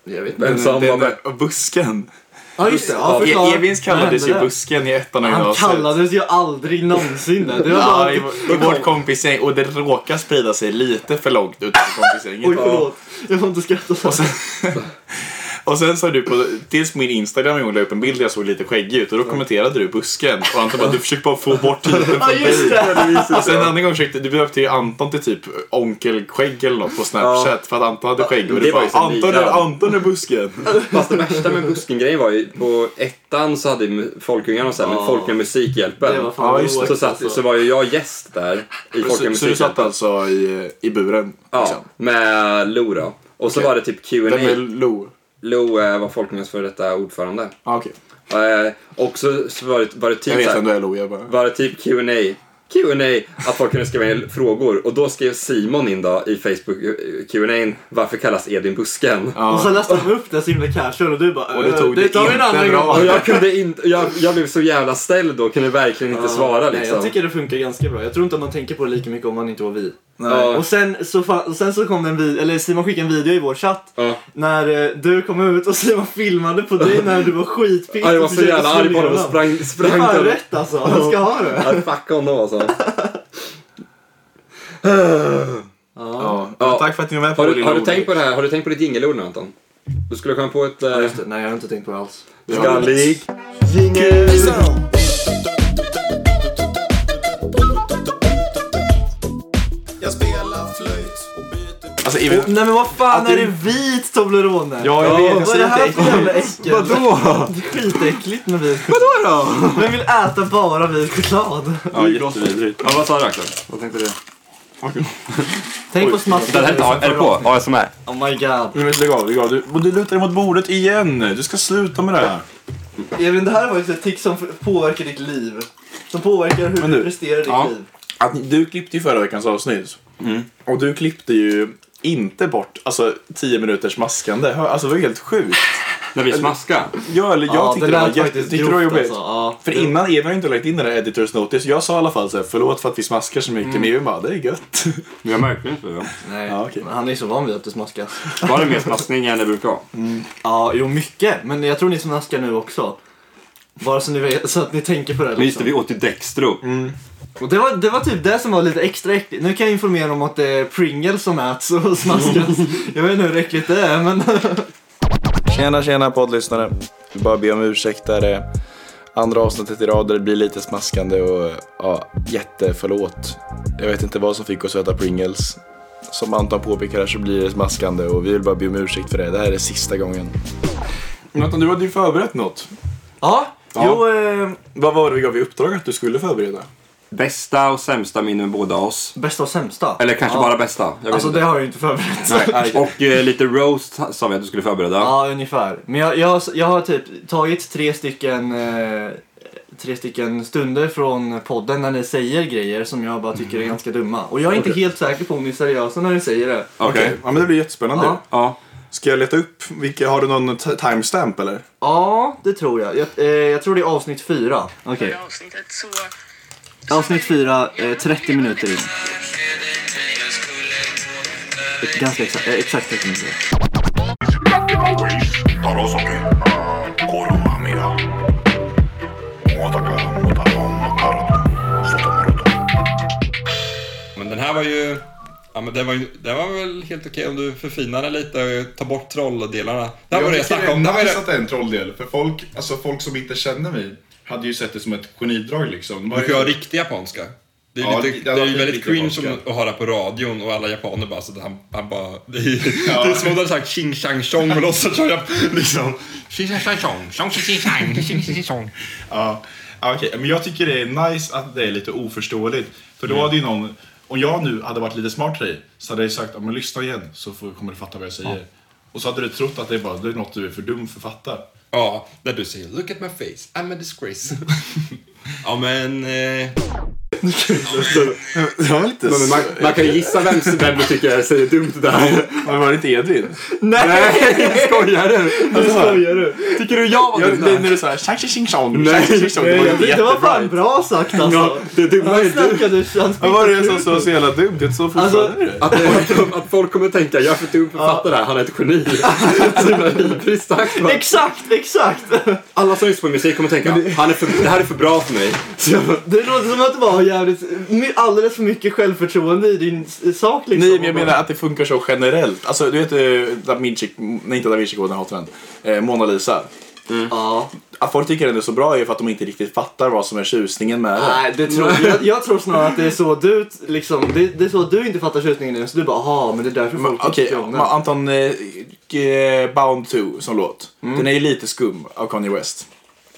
jag vet inte.
Vem som var bäst?
och busken.
Ja just det, ja,
E-
förklara.
Evins
Vad
kallades
hände
ju
där?
Busken i ettan av
Han
gymnasiet.
kallades ju aldrig någonsin det. Det var
Ja,
bara... typ-
i, i vårt kompisgäng. Och det råkar sprida sig lite för långt utanför
Oj
kompisgänget.
förlåt. Jag får inte skratta så.
Och sen, och sen sa du på dels på min Instagram en gång la jag upp en bild där jag såg lite skäggig ut och då kommenterade du busken och Anton bara du försökte bara få bort titeln från
Ja
dig.
just det!
Och sen Alltså, en annan gång försökte du behövde ju Anton till typ onkelskägg eller något på Snapchat för att Anton hade skägg och
det
du
var
bara
ju sen
Anton
ligan."
är, Anton är busken.
Fast det värsta med buskengrejen var ju på ettan så hade ju Folkungarna och sen
Ja.
Folkunga Musikhjälpen.
Det var fan
Ja, just det.
roligt,
så, satt, så var ju jag gäst där i Folkunga
Så, så du satt
Musikhjälpen.
alltså i, i buren?
Ja,
liksom.
med Lo då. Och så
Okej.
var det typ
Den med
Q&A
Lo?
Lo eh, var Folkungas före detta ordförande.
Ah, okej.
Eh, Och så, så var det, var det typ
Jag vet
så här-
vem du är Lo, jag bara...
var det typ Q&A Q&A att folk kunde skriva in frågor och då skrev Simon in då i Facebook eh, Q&A varför kallas Edvin Busken?
Och sen läste han upp det så himla casual och du bara
Och du
"Eh,
tog det
tar vi en
inte
annan
bra.
gång."
Och jag kunde inte, jag, jag blev så jävla ställd då, kunde verkligen inte svara
Nej,
liksom.
jag tycker det funkar ganska bra. Jag tror inte att man tänker på det lika mycket om man inte var vi.
Ja.
Och sen så, fa- och sen så kom det en video, eller Simon skickade en video i vår chatt
Ja.
när eh, du kom ut och Simon filmade på dig när du var skitpigg.
Ja, jag var
och
så
försökte
jävla
slå
arg på
ner
honom och
honom.
sprang,
Det är
sprang
fan
till
rätt alltså, han ska ha det.
Ja, fuck honom alltså.
Ja.
Ja.
Tack för att ni var med på
Har
vår
du,
lilla
har du
rolig.
tänkt på det här? Har du tänkt på ditt jingelord nu Anton? Du skulle komma på ett... eh,
Just det, nej jag har inte tänkt på det alls.
Skallig.
Alltså, Evin,
Nej men vad fan
Att
är
du-
det vit Toblerone?
Ja, jag vet. Jag
Vad är det
säger
här
inte
för jävla äckel?
Vadå?
Det är skitäckligt med vit choklad. Vadå då? Vem vill äta bara vit choklad?
Ja, jättevidrigt.
Ja, vad sa du Axel?
Vad tänkte du? Tänk på smasken.
Den här ja, är det på? ASMR?
Oh my god.
Men lägg av, lägg av. Du, och du lutar dig mot bordet igen. Du ska sluta med det här.
Evin, det här var ju ett tick som påverkar ditt liv. Som påverkar hur
Men
du
du-
presterar i ditt
ja.
liv.
Att ni- du klippte ju förra veckans avsnitt. Och du klippte ju inte bort alltså, tio minuters maskande. Hör- Alltså det var helt sjukt.
När vi smaskar?
Jag, eller, jag tyckte
det
det, var
lät
jätte,
faktiskt
tyckte det var
grovt
jobbigt.
alltså. Ja.
För innan, Evin har ju inte lagt in den där editors notice. Jag sa i alla fall så här, förlåt för att vi smaskar så mycket. Men Evin bara, det är gött.
Vi har verkligen inte det.
Nej,
Ja, okej.
men han är ju så van vid att det smaskas.
Var det mer smaskning än det brukar vara?
Ja, jo mycket. Men jag tror ni smaskar nu också. Bara så ni vet, så att ni tänker på det. liksom.
Men just det, vi åt ju Dextro.
Och det, var, det var typ det som var lite extra äckligt. Nu kan jag informera om att det är Pringles som äts och smaskas. Jag vet inte hur äckligt det är men...
Tjena, tjena poddlyssnare. Vill bara be om ursäkt där det andra avsnittet i rad där det blir lite smaskande och ja, jätteförlåt. Jag vet inte vad som fick oss att äta Pringles. Som Anton påpekar här så blir det smaskande och vi vill bara be om ursäkt för det. Det här är sista gången. Nathan, du hade ju förberett något.
Ja,
Ja.
jo... Eh,
Vad var det vi gav i uppdrag att du skulle förbereda?
Bästa och sämsta minnen med båda oss.
bästa och sämsta.
Eller kanske
ja.
bara bästa. Jag vet
Alltså
inte.
det har jag ju inte förberett.
Och eh, lite roast sa vi att du skulle förbereda.
Ja, ungefär. Men jag, jag, jag har typ tagit tre stycken, eh, tre stycken stunder från podden när ni säger grejer som jag bara tycker är ganska dumma. Och jag är inte helt säker på om ni är seriösa när ni säger det.
Okej.
Ja, men det blir jättespännande.
Ja.
Ja.
Ska jag leta upp? Vilka, har du någon t- timestamp eller?
Ja, det tror jag. Jag, eh, jag tror det är avsnitt fyra.
Okej.
avsnittet så...
Avsnitt fyra, eh, 30 minuter in. Ganska exakt, eh, exakt 30 minuter.
Men den här var ju... Ja, men den var, ju, den var väl helt okej om du förfinar den lite och tar bort trolldelarna. Det här var det jag snackade om. Det
Det
här var
är
det...
nice att det är en trolldel. För folk, alltså folk som inte känner mig hade ju sett det som ett genidrag liksom.
Man kan ju ha riktig japanska. Det är,
Ja,
lite,
det
det
hade
är ju
varit
väldigt
riktig
cringe
japanska.
som att höra på radion och alla japaner bara, så att han, han bara... Det är, det är som om de hade sagt ching chang chong och låtsas som jag liksom... Ching chang chang chong, chong ching ching chang, ching ching ching chong.
Ja, ja, okej. Men jag tycker det är nice att det är lite oförståeligt. För då hade ju någon, om jag nu hade varit lite smart till dig, så hade jag ju sagt ja, men lyssna igen så får, kommer du fatta vad jag säger. Och så hade du trott att det är bara det är något du är för dum för att fatta.
Ja, där du säger look at my face, I'm a disgrace. ja men... Eh,
Det var lite
men man, man kan ju gissa vem, vem du tycker säger dumt där.
Men var det inte Edvin?
Nej, skojar du?
Skojar du?
Tycker du jag var
Alltså, Ja,
dum?
det, när du sa tjang tjing tjing tjong,
Nej.
tjang, tjing, tjong", det var ju
Det var fan
jättebra.
bra sagt
Ja,
alltså.
det dumma är
Han
du.
snackade, han
Vad var det som sa så jävla dumt? Det är så
Alltså,
fortfarande.
Att, att folk kommer tänka, jag är för dum för att fatta det här, han är ett geni. Så himla hybris starkt, va?
Exakt, exakt!
Alla som lyssnar på musik kommer tänka, han är för, det här är för bra för mig. Så,
Det låter som att det var jävligt, my- alldeles för mycket självförtroende i din s- sak liksom.
Nej, men jag menar att det funkar så generellt. Alltså, du vet eh, Da Vinci, nej inte Da Vinci-koden, jag hatar den. Eh, Mona Lisa.
Ja.
Att folk tycker den är så bra är ju för att de inte riktigt fattar vad som är tjusningen med det.
Nej, det tror jag, jag tror snarare att det är så du, t- liksom, det, det är så du inte fattar tjusningen i den. Så du bara, aha, men det är därför
Men,
folk
Okej,
tycker om
ma-
den.
Anton eh, eh, Bound to som låt.
Mm.
Den är ju lite skum av Kanye West.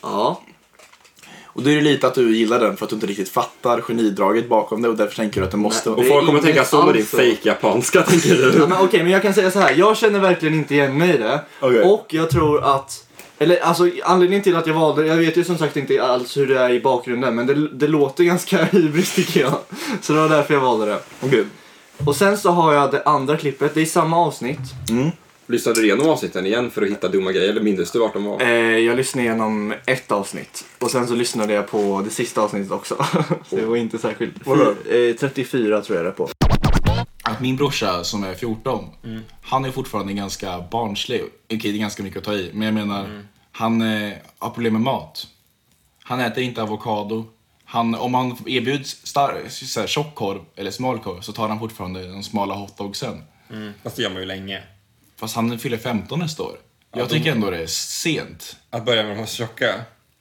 Ja.
Och det är ju lite att du gillar den för att du inte riktigt fattar genidraget bakom det och därför tänker du att den måste...
och
det
folk
är
kommer
inte
tänka, så med din
alls så."
fake japanska tänker
Ja,
du.
men okej, men jag kan säga så här. Jag känner verkligen inte igen mig i det.
Okej.
Och jag tror att... Eller alltså anledningen till att jag valde Jag vet ju som sagt inte alls hur det är i bakgrunden. Men det, det låter ganska hybris tycker jag. Så det var därför jag valde det.
Okej.
Och sen så har jag det andra klippet. Det är i samma avsnitt.
Lyssnade du igenom avsnitten igen för att hitta dumma grejer, eller mindes du vart de var?
Eh, jag lyssnade igenom ett avsnitt. Och sen så lyssnade jag på det sista avsnittet också. så det var inte särskilt... Fy, eh, 34 tror jag det är på.
Att min brorsa som är 14,
Mm.
han är fortfarande ganska barnslig. Okej, det är ganska mycket att ta i, men jag menar,
Mm.
han eh, har problem med mat. Han äter inte avokado. Han, om han erbjuds star- så här, tjock korv eller smal korv så tar han fortfarande de smala hotdogsen.
Fast det gör man ju länge.
Fast han fyller 15 nästa år. Jag tycker ändå det är sent.
Att börja med de här tjocka.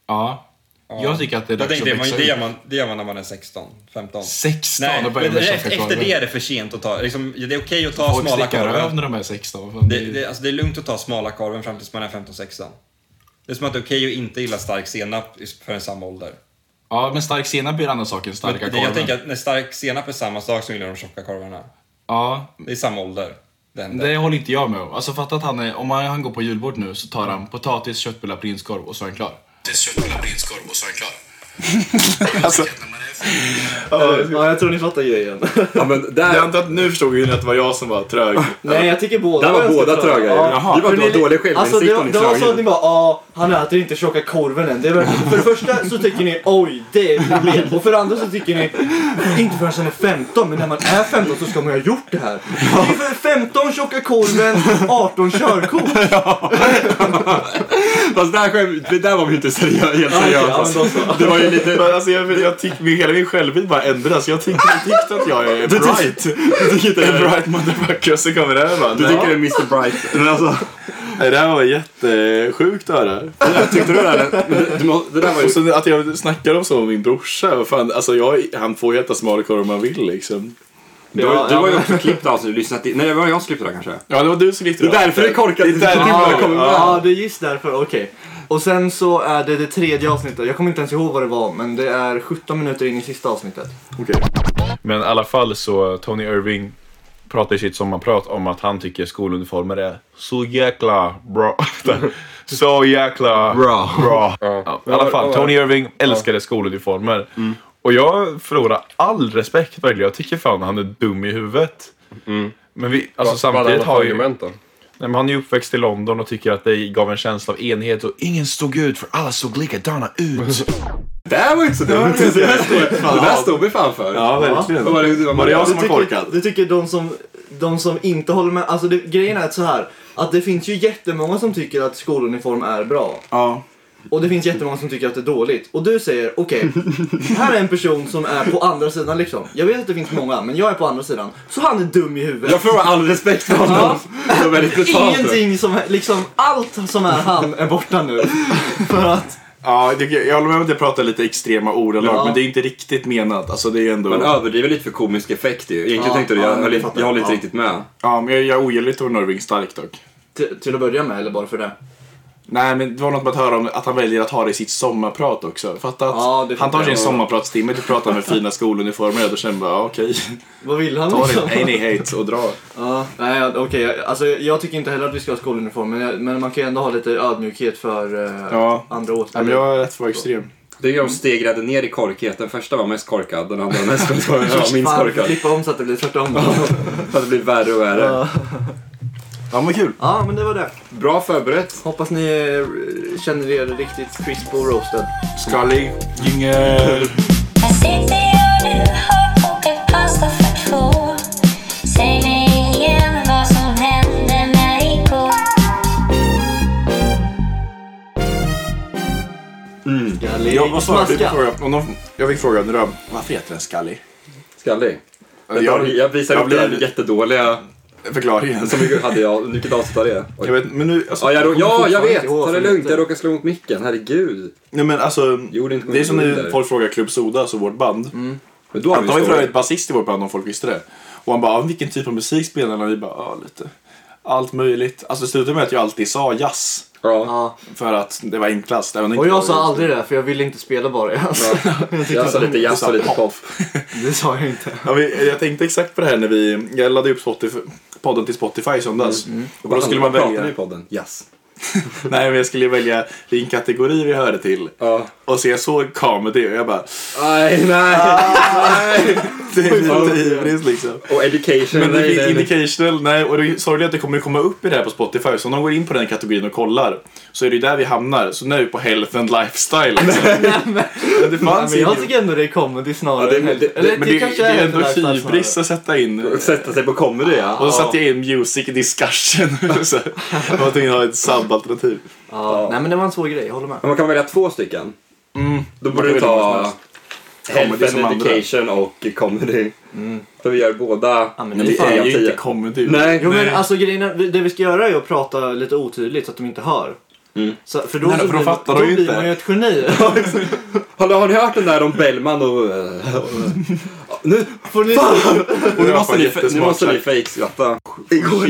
Ja. Jag tycker att det är
Jag
dags
tänkte, det, man,
växa
det, gör
upp.
man, det gör man när man är 16, 15.
16
Nej,
och
men
börjar med
efter,
tjocka
efter
korvar.
det är det för sent att ta. Liksom, det är okej att ta
Folk
smala
slickar
korven.
röv när de är 16. vad fan,
Det,
det är-
det, alltså det är lugnt att ta smala korven fram tills man är 15-16. Det är som att det är okej att inte gilla stark senap i- förrän samma ålder.
Ja, men stark senap blir andra saken.
Men
Starka
det, jag tänker
korven.
att när stark senap är samma sak som gillar de tjocka korvarna.
Ja,
Det är samma ålder. Det händer.
Det håller inte jag med om. Alltså fatta att han är, om han, han går på julbord nu så tar han potatis, köttbullar, prinskorv och så är han klar. Alltså-
Eh, Ja, jag tror ni fattar grejen.
Ja, men där,
antar att nu förstod ju att det var jag som var trög.
Nej, jag tycker båda
där var
ganska
båda tröga ju.
Ja.
Det var
För ni-
då- dålig självinsikt
Alltså det,
om
var-
ni
det var så att
tröger.
ni bara ja, han äter inte tjocka korven än. Det är väl, för det första så tycker ni oj, det är ett problem. Och för det andra så tycker ni inte förrän han är 15, men när man är 15 så ska man ju ha gjort det här. Det är för 15 tjocka korven, 18 körkort.
Fast där, skäm- det där var vi ju inte seriösa. Helt seriösa.
alltså.
ja, men då
det var ju lite...
Men alltså jag, jag tyck, min, hela min självbild bara ändras. Jag tyckte jag tyckte att jag är bright.
Du tycker inte det
En
är bra.
bright motherfucker och så kommer det här bara.
Du
nej.
tycker det är Mr Bright. Men alltså,
Nej, det här var jättesjukt att höra.
tyckte du det? Där? Men det- Du, må- det där var ju...
Och sen att jag snackar om så med min brorsa. vad Fan, alltså jag, han får ju äta smalkorv om han vill liksom.
Du,
Ja,
du
ja,
var ju
men-
också klippt alltså, du lyssnat i... Nej, det var jag som klippte det här, kanske.
Ja, det var du som gick
Det är därför det är korkat.
Det är därför det kommer med.
Ja, det är just därför. Okej. Och sen så är det det tredje avsnittet. Jag kommer inte ens ihåg vad det var, men det är 17 minuter in i sista avsnittet.
Men i alla fall så Tony Irving pratar i sitt sommarprat om att han tycker skoluniformer är så jäkla bra. så jäkla bra. bra. Ja. I alla fall, Tony Irving älskade skoluniformer.
Mm.
Och jag förlorar all respekt
Mm.
verkligen. Jag tycker fan han är dum i huvudet. Men vi, alltså samtidigt har ju...
då?
Nej, men han är ju uppväxt i London och tycker att det gav en känsla av enhet och ingen stod ut för alla såg likadana ut.
Det här var ju inte så dumt. Det där stod- det där stod vi fan för.
Ja, verkligen.
Vad var det- vad var
Var
det jag
du
som var
tycker,
korkad?
Du tycker de som, de som inte håller med... Alltså det, grejen är så här. Att det finns ju jättemånga som tycker att skoluniform är bra.
Ja.
Och det finns jättemånga som tycker att det är dåligt. Och du säger, okej, här är en person som är på andra sidan liksom. Jag vet att det finns många, men jag är på andra sidan. Så han är dum i huvudet.
Jag förlorar all respekt för honom. Det var väldigt brutalt.
Ingenting som, är- liksom allt som är han är borta nu. För att,
Ja, det- jag håller med om att jag pratar lite extrema ordalag,
Ja.
men det är inte riktigt menat. Alltså, det är ändå...
Man överdriver lite för komisk effekt ju. Egentligen
Ja,
tänkte du,
ja,
jag,
jag
höll inte-
fattar.
jag håller inte
Ja.
riktigt med.
Ja, men jag, jag ogillar Tom Irving starkt dock.
till, till att börja med, eller bara för det?
Nej, men det var något med att höra om att han väljer att ha det i sitt sommarprat också. Fatta att
Ja, det
han tar
fattar
sin
jag.
sommarpratstimme till att prata med fina skoluniformer och då känner man bara, ja, okej.
Vad vill han liksom?
Ta din any hate och dra.
Ja, nej, ja, okej. jag- Alltså, jag tycker inte heller att vi ska ha skoluniform, men, jag, men man kan ju ändå ha lite ödmjukhet för eh,
Ja.
andra åsikter.
Nej, men jag är rätt för extrem.
Det är de stegrade ner i korkighet. Den första var mest korkad, den andra var mest korkad. Ja, minst
Fan, vi får
korkad.
klippa om så att det blir tvärtom.
För att det blir värre och värre.
Ja.
Ja, men kul.
ja, men det var det.
Bra förberett.
Hoppas ni eh, känner er riktigt crisp och roasted.
Skallig. Jingel.
Jag sitter jag nu har kokat pasta för två. Säg mig igen vad som hände mig igår.
Jag, vad svarade du på
Smaska.
frågan? Om någon, jag fick frågan idag, varför heter den skallig?
Skallig. Jag,
Jag-
jag visar
jag
upp det här
blir-
jättedåliga
Förklaringen.
som vi hade. Jag, vilket avsnitt var det? Oj.
Jag vet, men nu, alltså,
Ja, jag, ja, jag
fortfarande
vet!
inte
Ta
ihåg
det
vad det
lugnt, jag
heter.
råkade slå mot micken. Herregud.
nej, men alltså,
Jo, det är inte Mm.
det är som
under.
när folk frågar Club Soda, alltså vårt band.
Men då har
Anton var ju
vi
för
story.
övrigt basist i vårt band om folk visste det. Och han bara, "Ah, vilken typ av musik spelar ni? Och vi bara, ja lite. Allt möjligt. Alltså det slutade med att jag alltid sa jazz.
Ja.
Ja.
För att det var enklast. även om det
Och
inte
jag
var-
sa aldrig det, för jag ville inte spela bara. Alltså.
Jag sa lite jazz och lite pop.
Det sa jag inte.
Ja, vi, jag tänkte exakt på det här när vi, jag laddade upp Spotify, podden till Spotify i söndags. Och då skulle man
Mm, Vad pratar ni i
välja,
podden? Jazz.
nej men jag skulle välja vilken kategori vi hörde till.
Ja.
Och så jag såg comedy och jag bara,
Nej, nej!
det är lite ivrigt liksom.
Och education.
Men
nej,
det
nej,
är
nej.
indicational, nej och det är sorgligt att det kommer komma upp i det här på Spotify. Så om de går in på den kategorin och kollar så är det ju där vi hamnar. Så nu är vi på health and lifestyle. Liksom. men det
Nej,
fanns
men
ju
jag tycker ändå det är comedy snarare.
Alltså, Ja, det-
än helst-
det- det-
Eller det,
men det, det
kanske är
är
ändå
ändå hybris
snarare.
att sätta in.
Och Sätta sig på comedy, ja.
Och så satte jag in music discussion. så jag var tvungen att ha ett sabbalternativ.
Ja. Nej, men det var en svår grej, jag håller med.
Men man kan välja två stycken. Då
Mm. kan
borde du
välja vad som
ta
helst.
health
Comedy som
and
andra.
education och comedy. Då vi gör båda
Ja, men
Mm. Men
det
det
fan,
är
av
ju inte
tio.
comedy.
Nej.
Jo men alltså grejen är, det vi ska göra är att prata lite otydligt så att de inte hör. Så, för då,
Nej,
så
för då
blir-
fattar
då
de ju
blir
inte.
man ju ett geni.
Har, har ni hört den där om Bellman och... eh, och- nu,
Får ni...
Och
nu måste ni, nu måste ni fejkskratta.
Igår,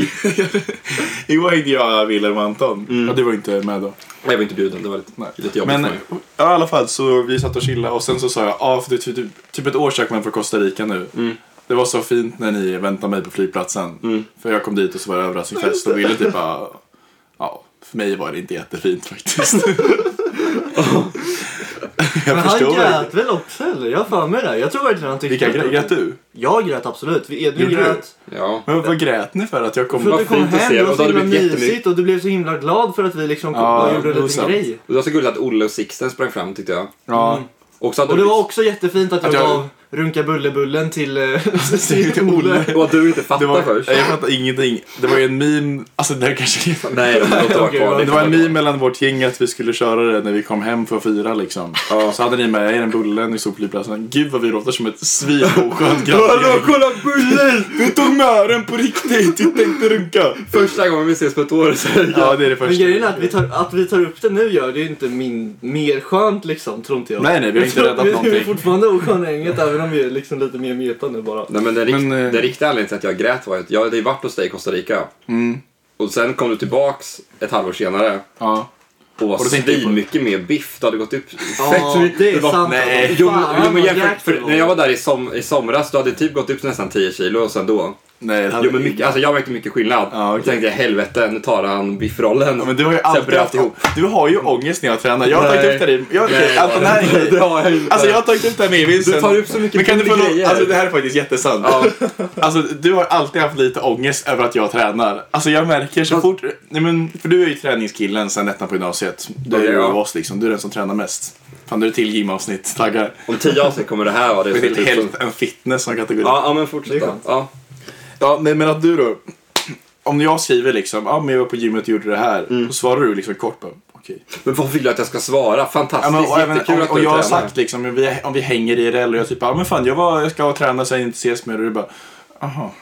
igår hängde jag Wilhelm och Anton.
Mm.
Ja, du var inte med då.
Nej, jag var inte bjuden. Det var lite, lite jobbigt
Men
för
ja,
mig.
i alla fall så vi satt och chillade och sen så sa jag, ja för det är typ, typ, typ ett år sedan jag kom hem från Costa Rica nu. Det var så fint när ni väntade mig på flygplatsen. För jag kom dit och så var det överraskningsfest och ville typ bara, ja för mig var det inte jättefint faktiskt. jag
Men han
förstår verkligen.
grät väl också eller? Jag har för mig det. Jag tror verkligen han tyckte...
Vilka grä- grät du?
Jag grät absolut. Vi- Edvin
Gjorde du?
grät.
Ja.
Men vad grät ni för att jag kom?
För att du kom
fint att
hem,
se
det
dem.
var
Då
så
hade
himla
det blivit jättemycket-
mysigt och du blev så himla glad för att vi liksom kom,
Ja,
bara gjorde en
det var
liten
sant.
grej.
Och Det var så gulligt att Olle och Sixten sprang fram tyckte jag.
Ja,
Och, så hade
Och det
du-
var också jättefint att jag,
jag-
gav Runka Bullebullen till, eh,
till Olle.
och att du inte
det
fattade
var,
först.
jag fattar ingenting. Det var ju en meme, alltså det här kanske
Nej, låt det vara kvar.
Det var en meme mellan vårt gäng att vi skulle köra det när vi kom hem för att fira liksom. Så hade ni med er en bulle ni stod på flygplatsen. Gud vad vi låter som ett svinoskönt grabbgäng.
kolla bullen!
Du tog med den på riktigt, du tänkte runka.
Första gången vi ses på ett år så är det-
Ja det är det
Men
första.
grejen är att vi, tar, att vi tar upp det nu gör det ju inte min, mer skönt liksom, tror inte jag.
Nej nej, vi har inte
Jag
räddat
tror- vi- Vi är
någonting.
fortfarande osköna i gänget även om vi är liksom lite mer meta nu bara.
Nej men den, rikt,
Men, eh,
den riktiga anledningen till att jag grät var att jag hade ju varit hos dig i Costa Rica.
Mm.
Och sen kom du tillbaks ett halvår senare
Ja.
och var
då tänkte jag på-
svinmycket mer biff. Du hade gått upp
Ja,
fett så mycket.
det är
var-
sant. alltså.
Nej.
Fan,
Jo, men, jo, men
vad
jämfört,
jäkligt det
för
var.
när jag var där i, som, i somras, du hade typ gått upp nästan 10 kilo och sen då.
Nej, det hade
Jo, men mycket, alltså jag märkte mycket skillnad.
Ja, okej.
Då tänkte jag helvete, nu tar han biffrollen.
Ja, men du har ju
Så jag
alltid
bröt
haft,
ihop. Mm.
Du har ju ångest när jag tränar. Jag har tagit
Nej.
upp det här i... Jag, nej, Anton, det här är
det har jag inte.
Alltså jag har tagit upp det här med Vincent.
Du tar upp så mycket
Men kan du få
mindre
lov-
grejer.
Alltså det här är faktiskt jättesant. Alltså du har alltid haft lite ångest över att jag tränar. Alltså jag märker så fort... Nej men, för du är ju träningskillen sen ettan på gymnasiet. Du är
Ja,
ju
ja.
av oss liksom. Du är den som tränar mest. Fan du är till gymavsnitt. Taggar.
Om tio avsnitt kommer det här vara det.
Det
som
är till
typ som-
health and fitness som kategori.
Ja, ja, men fortsätt då. Ja.
Ja, nej, men att du då. Om jag skriver liksom, ja men jag var på gymmet och gjorde det här.
Mm.
Då svarar du liksom kort bara, okej.
Men vad vill du att jag ska svara?
Ja,
Fantastiskt,
men, och, även,
jättekul
och,
att du
och jag har
tränar.
sagt liksom, om vi, om vi hänger i det och jag typ, ja men fan jag, var, jag ska träna sen inte ses mer. Och du bara, aha.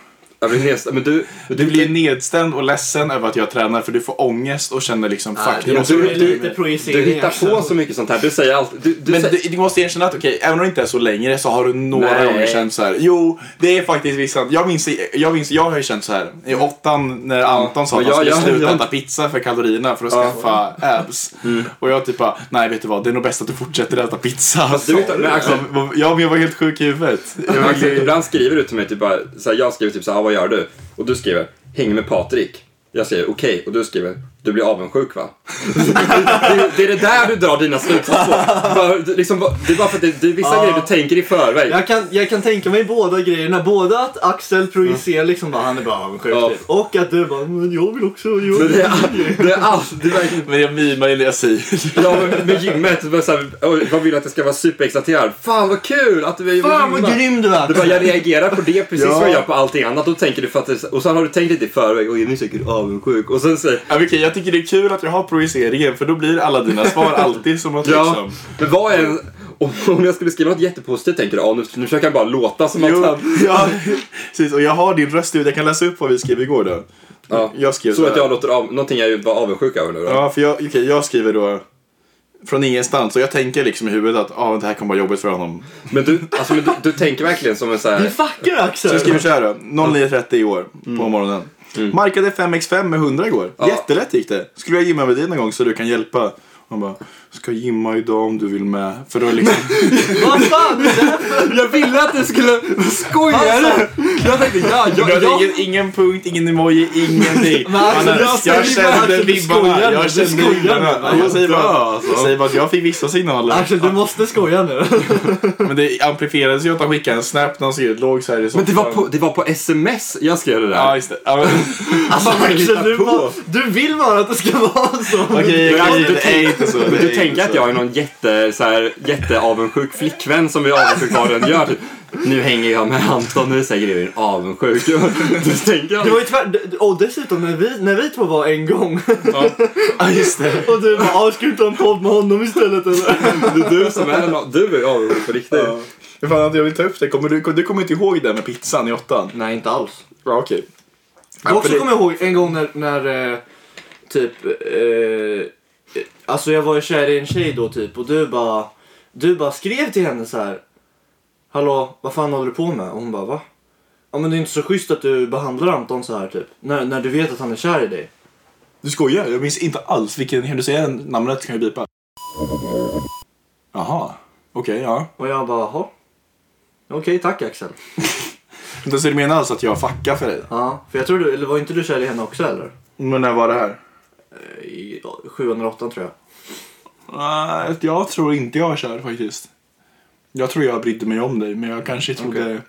Ja, men nästa- men du, men
Du blir nedstämd och ledsen över att jag tränar för du får ångest och känner liksom, fuck.
men
jag måste,
du-
du,
du-
projicering.
du hittar på så mycket sånt här. Du säger alltid... Du, du
men
säger,
du, du måste erkänna att okej, även om det inte är så längre så har du några
Nej.
gånger känt så här. Jo, det är faktiskt visst sant. Jag minns, jag minns, jag har ju känt så här i
Mm.
åttan när Anton sa att
men
han
jag-
skulle
jag-
sluta
jag-
äta pizza för kalorierna för att skaffa abs.
Mm.
Och jag typ bara, nej vet du vad, det är nog bäst att du fortsätter äta pizza.
Fast du vet inte- men Axel-
Ja, ja, men jag var helt sjuk i huvudet. Jag var-
Axel, ibland skriver du till mig, typ bara, så här, jag skriver typ så här, "Ah, vad gör du? Och du skriver, häng med Patrik. Jag skriver okej och du skriver du blir avundsjuk va? det, det är det där du drar dina slutsatser på. Bara, du- Liksom, bara- det är bara för att det, det är vissa grejer du tänker i förväg.
Jag kan, jag kan tänka mig båda grejerna. Både att Axel projicerar liksom bara, han är bara avundsjuk.
Ja.
typ. Och att du bara, men jag vill också. Jag
Men
vill.
det är, det är allt. Det är verkligen...
Men jag mimar ju när jag säger
Ja, men med gymmet. det var så här, oj, vad vill du att jag ska vara superexalterad? Fan vad kul att du är
Fan vad grym du
Du
är!
bara, jag reagerar på det precis
Ja.
som jag gör på allting annat. Då tänker du för att det, och sen har du tänkt lite i förväg. Oj, nu är säkert avundsjuk. Och sen säger
ja, men okej, Jag tycker det är kul att jag har projiceringen för då blir alla dina svar alltid som att
Ja,
liksom.
men vad är en... Om, om jag skulle skriva något jättepositivt tänker du, ja, nu, nu försöker han bara låta som att
Jo,
han...
ja, precis, och jag har din röst ut. Jag kan läsa upp vad vi skrev igår då.
Ja.
Jag skrev
Så
här.
att jag låter av, någonting jag var avundsjuk över nu då.
Ja, för jag, okej, jag skriver då från ingenstans och jag tänker liksom i huvudet att ah, det här kommer vara jobbigt för honom.
Men, du, alltså, men du, du tänker verkligen som en så
Du
här...
fuckar Axel!
Så jag skriver så här då, 09.30 i år på morgonen. Markade 5x5 med 100 igår.
Mm. Ja.
Jättelätt gick det. Skulle jag gymma med dig någon gång så du kan hjälpa? Han bara, ska gymma idag om du vill med. För då liksom...
Vad fan! Det där-
Jag ville att du skulle... Skojar du? Alltså, Jag tänkte, ja, jag...
Jag
jag...
ingen, ingen punkt, ingen emoji, ingenting.
Men alltså,
Han är-
jag
jag
säger bara
kände
att du
vibbarna.
skojar nu,
Jag
du
kände
skojar nu. Alltså.
vibbarna. Jag säger bara, jag säger bara att jag fick vissa signaler.
Axel du måste skoja nu.
Men det amplifierades ju att han skickade en snap när han skrev låg så här i
Men det var,
soffan.
på, det var på sms jag skrev det där.
Ja, just det. Ja, men...
Alltså Axel du,
på.
bara, du vill bara att det ska vara så.
Okej, okej,
Men alltså, du
det är inte så. det
Men du
är inte
tänker att
så.
jag är någon jätte, så här, jätteavundsjuk flickvän som är avundsjuk vad den gör. typ. Nu hänger jag med Anton, nu säger du är avundsjuk. Du tänker
Det var ju tvärt... Och dessutom när vi, när vi två var en gång.
Ja, just det.
Och du bara, "Ah, ska du inte ha en podd med honom istället eller?
det är du som är den, du är avundsjuk på riktigt.
Ja. Men Fan, att jag vill ta upp det. Kommer du, du kommer inte ihåg det med pizzan i åttan?
Nej inte alls.
Ja, okej.
Jag också
för det-
kommer ihåg en gång när, när eh, typ, eh, alltså jag var ju kär i en tjej då typ och du bara, du bara skrev till henne så här. Hallå, vad fan håller du på med? Och hon bara, va? Ja men det är inte så schysst att du behandlar Anton så här typ. När, när du vet att han är kär i dig.
Du skojar? Jag minns inte alls vilken... Kan du säga namnet kan jag bipa. Jaha. Okej, ja.
Och jag bara, jaha. Okej, tack Axel.
Men Så du menar alltså att jag fuckar för dig?
Ja, för jag tror du, eller var inte du kär i henne också eller?
Men när var det här?
Eh, I ja, sjuan eller åttan tror jag.
Nej, jag tror inte jag kör faktiskt. Jag tror jag brydde mig om dig, men jag kanske trodde...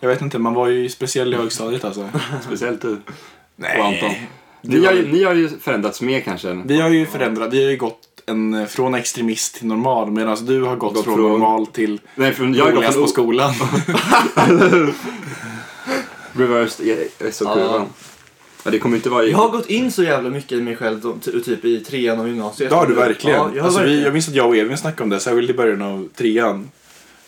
Jag vet inte, man var ju speciell i högstadiet alltså.
Speciellt du och Anton.
Nej.
Ni har, ju, ni har ju förändrats mer kanske än...
Vi har ju förändrat, vi har ju gått en, från extremist till normal medan du har gått,
Gått
från,
från-
normal till
Nej, för jag har gått
roligast på
från sko-
skolan.
reversed SO-kurvan. Ja, det kommer inte vara...
Jag har gått in så jävla mycket i mig själv då, ty- typ i trean av gymnasiet.
Det har du verkligen.
Ja, jag har
alltså,
verkligen.
Vi, jag minns att jag och Edvin snackade om det, särskilt i början av trean.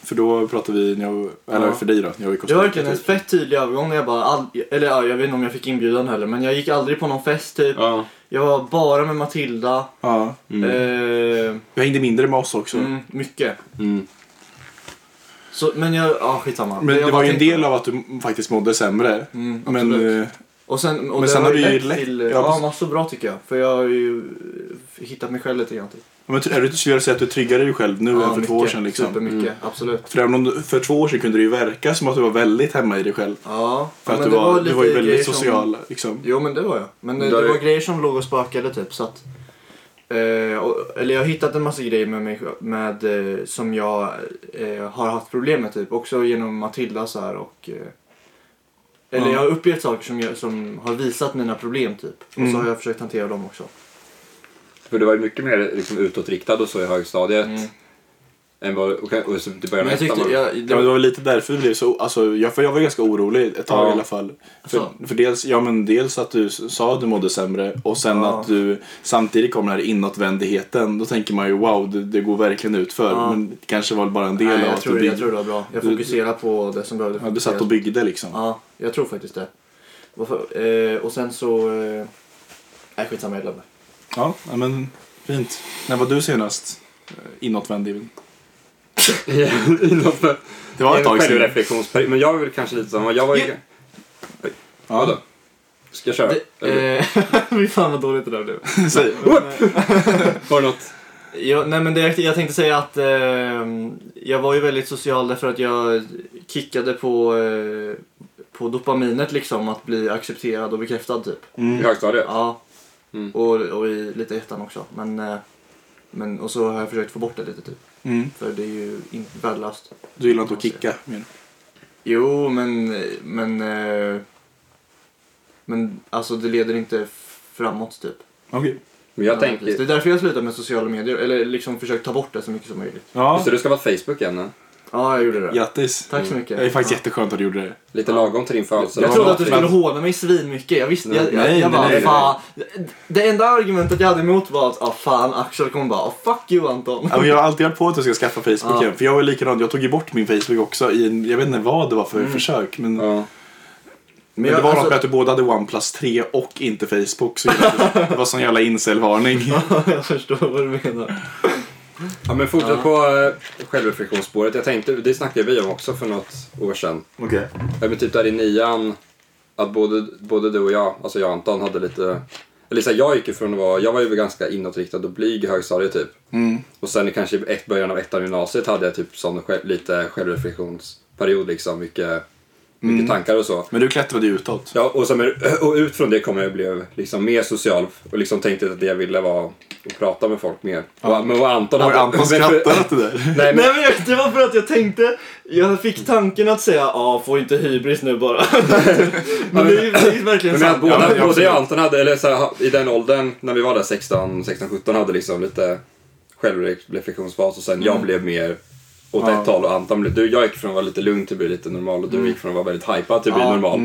För då pratade vi, när jag, eller
Ja.
för dig då, när jag var i
Det
Costa
var
Rica,
verkligen en
typ.
fett tydlig övergång när jag bara, all, eller ja, jag vet inte om jag fick inbjudan heller, men jag gick aldrig på någon fest typ.
Ja.
Jag var bara med Matilda.
Ja.
Eh,
Jag hängde mindre med oss också.
mm, mycket.
Mm.
Så, men jag, ja skitsamma.
Men
jag
det
bara
var ju en
tänkte-
del av att du faktiskt mådde sämre.
Mm, absolut.
men eh,
och sen, och
men
det
sen
har
har
ju
du ju
lett
lätt-
till,
ja,
ja,
precis.
massor bra tycker jag. För jag har ju eh, hittat mig själv lite grann typ.
Men är du, skulle jag säga att du triggade dig själv nu än för två år sedan? Liksom?
Supermycket, absolut.
För, även om du, för två år sedan kunde det ju verka som att du var väldigt hemma i dig själv.
Ja,
För
ja,
att
men
du var, du
lite
var ju
grejer
väldigt
som-
social. Liksom.
Jo, men det var jag. Men det,
Där
det
är-
var grejer som låg och spökade typ. Så att, eh, och, eller jag har hittat en massa grejer med mig, med, eh, som jag eh, har haft problem med typ. Också genom Matilda så här och... Eh, eller jag har upplevt saker som, jag, som har visat mina problem typ. Och så har jag försökt hantera dem också.
För du var ju mycket mer liksom, utåtriktad och så i högstadiet. Än vad, och, och, så till början
Men jag
nästan
tyckte...
var-
Jag,
Ja,
det
men det
var,
var väl lite därför du blev så... Alltså, jag, för jag var ganska orolig ett tag
Ja.
i alla fall. För,
Alltså.
för dels, ja, men dels att du s- sa att du mådde sämre och sen
Ja.
att du samtidigt kom den här inåtvändheten. Då tänker man ju wow, det, det går verkligen ut för
Ja.
Men det kanske var bara en del
nej,
av
jag,
att
tror,
du,
det-
bygg,
jag tror det var bra. Jag
du-
fokuserar på det som behövde
ja, du satt
fokuseras
och byggde liksom.
Ja, jag tror faktiskt det. Varför- Eh, och sen så... Eh, nej, skitsamma, jag glömde.
Ja, ja, men fint. När var du senast eh, inåtvänd? Emil?
Inåt med-
Det var ett
en
tag sedan.
självreflektionsperiod. Men jag är väl kanske lite samma. Jag var ju...
Ja.
Oj. Ja då. Ska jag köra? Eller,
Eh, Fy fan vad dåligt det där blev.
Säg.
Var det något?
Jag, nej, men det, jag- jag tänkte säga att eh, jag var ju väldigt social därför att jag kickade på, eh, på dopaminet liksom att bli accepterad och bekräftad typ.
I högstadiet?
Ja.
Mm.
Och, och i lite ettan också. Men, eh, men, och så har jag försökt få bort det lite typ.
Mm.
För det är ju inte värdelöst.
Du gillar inte att kicka? menar du?
Jo, men... Men, eh, men alltså det leder inte framåt typ.
Okej.
Men jag
Det
tänker...
är därför jag slutar med sociala medier. Eller liksom försökt ta bort det så mycket som möjligt.
Ja.
Just det, du ska vara Facebook igen. ne?
Ja, jag gjorde det.
Grattis.
Tack så mycket.
Det är faktiskt
ja.
jätteskönt att du gjorde det.
Lite lagom till din födelsedag.
Jag trodde att du
Men-
skulle håna mig svinmycket. Jag visste, jag, jag,
Nej,
jag
nej,
bara
nej, nej.
fan. Det enda argumentet jag hade emot var att ah, fan Axel kommer bara ah, fuck you Anton.
Ja, men jag har alltid hållit på att jag ska skaffa Facebook
Ja.
igen. För jag var likadan. Jag tog ju bort min Facebook också. I en, jag vet inte vad det var för försök. Men,
Ja.
men
Mm. jag-
det var något
alltså-
med att du båda hade OnePlus 3 och inte Facebook. Så det var sån jävla incelvarning.
alltså, jag förstår vad du menar.
ja, men fortsätt på eh, självreflektionsspåret. Jag tänkte, det snackade vi om också för något år sedan.
Okej.
Ja, men typ där i nian, att både, både du och jag, alltså jag och Anton, hade lite... Eller så här, jag gick ifrån att vara, jag var ju ganska inåtriktad och blyg i högstadiet typ. Och sen kanske i ett, början av ettan i gymnasiet hade jag typ sån själv, lite självreflektionsperiod liksom, mycket, mycket tankar och så.
Men du klättrade ju utåt.
Ja, och, sen, och ut från det kom jag och blev liksom mer social och liksom tänkte att det jag ville var att prata med folk mer. Och, men vad Anton
Har Anton skrattat åt det där?
Nej, men,
Nej men jag, det var för att jag tänkte, jag fick tanken att säga ja få inte hybris nu bara. men det är, ju- det är ju verkligen
Men jag,
sant.
både,
Ja, men-
både jag och Anton hade, eller så här, i den åldern när vi var där 16, 16, 17 hade liksom lite självreflektionsfas och sen jag blev mer åt ett håll och Anton blev, du, jag gick från att vara lite lugn till att bli lite normal och du gick från att vara väldigt hypad till att bli normal.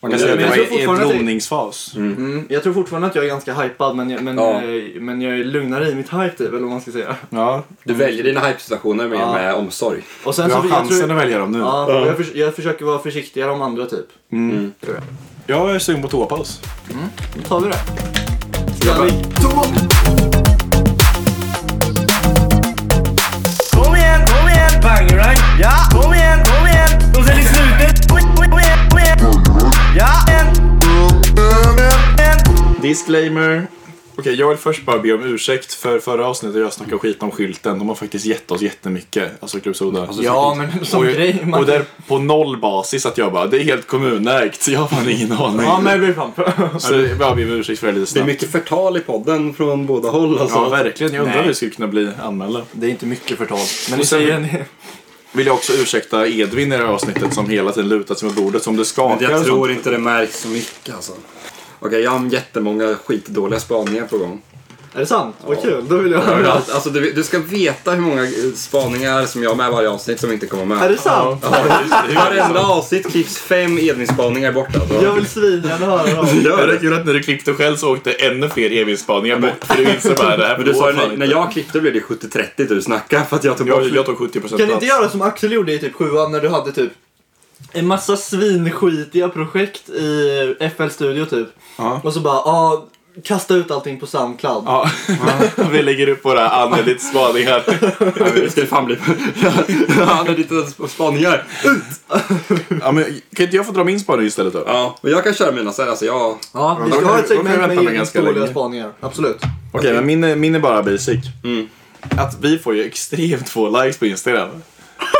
Man kan
Men
säga att
jag
det
tror
var i en
fortfarande att det-
blomningsfas.
Mm, jag tror fortfarande att jag är ganska hypad men jag, men,
Ja.
eh, men jag är lugnare i mitt hype typ, eller vad man ska säga.
Ja.
Du väljer dina hype-situationer med,
Ja.
med omsorg.
Och sen
Du har
så, Alltså, jag,
chansen
tror,
att välja dem nu.
ja, och jag, förs- jag försöker vara försiktigare om andra typ.
Jag är sugen på toapaus.
Då tar vi det. Ska vi?
Kom igen, kom igen! Bang right? Ja! Kom igen, kom igen! Och sen i slutet... Kom igen, kom igen, kom igen! Ja! En! En!
Disclaimer. Okej, jag vill först bara be om ursäkt för förra avsnittet jag snackade skit om skylten. De har faktiskt gett oss jättemycket, alltså Club Soda.
Ja men som
och,
grej. Man,
och där på noll basis att jag bara, det är helt kommunägt, så jag har fan ingen aning.
ja men vi fan.
Så jag bara ber om ursäkt för det lite
Det är
snabbt.
mycket förtal i podden från båda håll alltså.
Ja, verkligen. Jag undrar
Nej.
hur vi skulle kunna bli anmälda.
Det är inte mycket förtal. Men
Och sen-
ni säger ni.
Vill jag också ursäkta Edvin i det här avsnittet som hela tiden lutar sig mot bordet, som det
Men
skakar
jag
och sånt.
tror inte det märks så mycket alltså. Okej, jag har jättemånga skitdåliga spaningar på gång.
Är det sant? Vad kul, då vill jag höra.
Överallt. Alltså, du, du ska veta hur många eh, spaningar som jag har med i varje avsnitt som inte kommer
Är
med.
det sant?
Varenda avsnitt klipps fem Edvin-spaningar bort alltså.
Jag vill svingärna höra dem.
Ja, det är kul att när du klippte själv så åkte ännu fler Edvin-spaningar bort. För du inser bara, det här
Men du sa
går
ju när,
fan
när
inte.
jag klippte blev det 70-30 du snackade för att jag tog bort...
jag, jag tog 70 procent
Kan ni inte göra som Axel gjorde i typ sjuan när du hade typ en massa svinskitiga projekt i FL Studio typ.
Ja.
Och så bara, ja, kasta ut allting på Soundcloud.
Ja, vi lägger upp våra anneligt spaningar.
Ja, men Det skulle fan bli... Han är lite spaningar.
Ja, men, kan inte jag få dra min spaning istället då?
Ja, men jag kan köra mina så här, alltså jag...
Ja, vi
då
ska
kan
ha
vi-
ett
då kan vi
segment
vänta
med
med
Jennings
ganska
dåliga
länge.
spaningar. Absolut.
Okej, men min, är- min är bara basic.
Mm.
Att vi får ju extremt få likes på Instagram.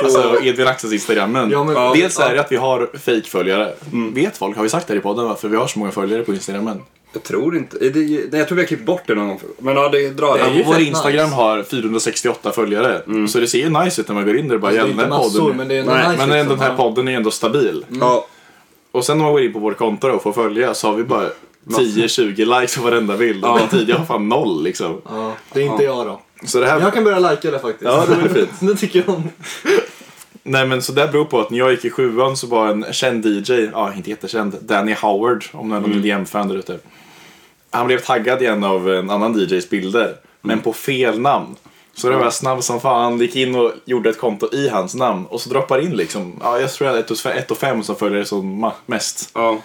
Alltså Edvin Axels Instagram. Men,
Oh. Ja, Mm. men-
dels är det att vi har fake-följare. Vet folk, har vi sagt det här i podden, varför vi har så många följare på Instagram? Men
Jag tror inte... Det, nej, jag tror vi har klippt bort det någon gång. Men ja, det drar...
det är ju
fett
Eh, vår Instagram
nice. Mm.
har 468 följare. Så det ser ju nice ut när man går in där och bara
Alltså, Det är
"Jävlar,
inte
den här
massor,
podden.
men det är ändå
Nej,
nice.
Men den, den
liksom.
här podden är ju ändå stabil.
Ja,
Och sen när man går in på vårt konto då och får följa så har vi bara 10-20 likes på varenda bild. Men tidigare har fan noll liksom.
Ja, det är inte jag då.
Så det här...
Jag kan börja likea det faktiskt.
Ja, det vore fint.
det tycker jag om.
Nej men så det beror på att när jag gick i sjuan så var en känd DJ, ja inte jättekänd, Danny Howard om någon mm. IDM-fan där ute. Han blev taggad i en av en annan DJs bilder,
Mm.
men på fel namn. Så det var jag snabb som fan, gick in och gjorde ett konto i hans namn och så droppar in liksom, ja jag tror jag är 1 och 5 som följer som ma- mest.
ja.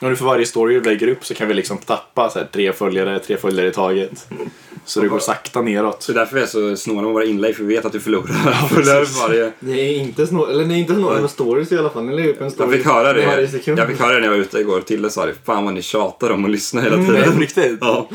Och nu för varje story vi lägger upp så kan vi liksom tappa så här, tre följare, tre följare i taget. Så det går sakta neråt.
Så därför är jag så snåla med våra inlägg, för vi vet att du förlorar. förlorar för varje...
Det är inte snå... Eller ni är inte snåla med stories i alla fall. Ni lägger upp en
Jag
story
fick höra det.
varje sekund.
Jag fick höra det när jag var ute igår. Tille sa det. Fan vad ni tjatar om att lyssna hela
Mm. Nej,
tiden.
på riktigt.
Ja.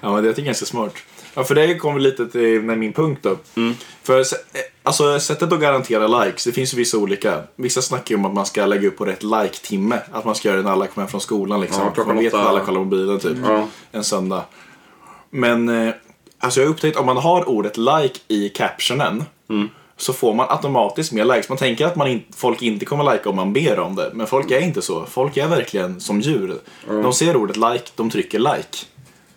Ja, men det tycker jag är ganska smart. Ja, för det kommer vi lite till med min punkt då.
Mm.
För se- eh, alltså, sättet att garantera likes, det finns ju vissa olika. Vissa snackar ju om att man ska lägga upp på rätt like-timme. Att man ska göra det när alla kommer hem från skolan liksom.
Ja, klockan
man vet
åtta.
att alla kollar på mobilen typ.
Ja.
En söndag. Men eh, alltså, jag har upptäckt om man har ordet like i captionen
Mm.
så får man automatiskt mer likes. Man tänker att man in, folk inte kommer likea om man ber om det. Men folk är inte så. Folk är verkligen som djur. De ser ordet like, de trycker like.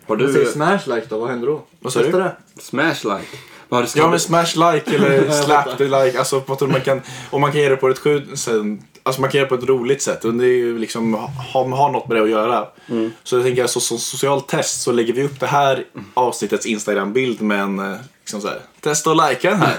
Har
Jag säger
du
smash like då, vad händer då?
Vad sa du?
Testa det.
smash like? Vad har du
Ja
skrivit?
men smash like eller slap the like. Alltså, på att man kan, och man kan göra det på ett skydd, sen, alltså man kan göra det på ett roligt sätt. Och det är ju liksom, har, har något med det att göra. Så jag tänker så, som socialt test så lägger vi upp det här avsnittets Instagram-bild med en eh, liksom så här, testa att likea den här.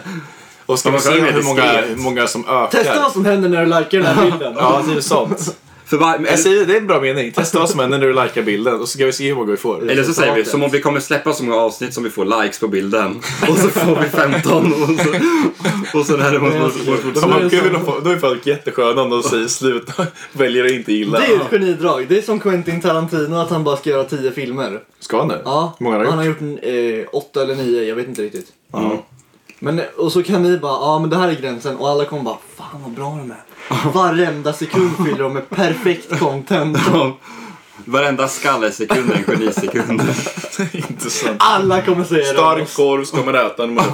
Och ska
Ja,
vi
man
se
kan vara mer
hur många,
diskret.
hur många som ökar.
Testa vad som händer när du likar den här bilden.
Ja, det är sånt.
För var...
Jag
eller,
säger, det är en bra mening. Testa vad som händer när du likar bilden och så ska vi se hur många vi får.
eller så säger vi, som om vi kommer släppa så många avsnitt som vi får likes på bilden. Och så får vi 15. Och så, och så där måste man
Då
fortsätta.
är, då är folk jättesköna om de säger sluta, väljer att inte gilla.
Det är ett genidrag. Det är som Quentin Tarantino att han bara ska göra tio filmer.
Ska han det?
Ja,
Hur många har
han
han
har
gjort?
gjort en, eh, åtta eller nio, jag vet inte riktigt. Mm. Men, eh, och så kan ni bara, ja men det här är gränsen och alla kommer bara, fan vad bra de är. Varenda sekund fyller de med perfekt content.
Varenda skallesekund är en genisekund.
Intressant.
Alla kommer säga det.
Stark korv ska man äta när man är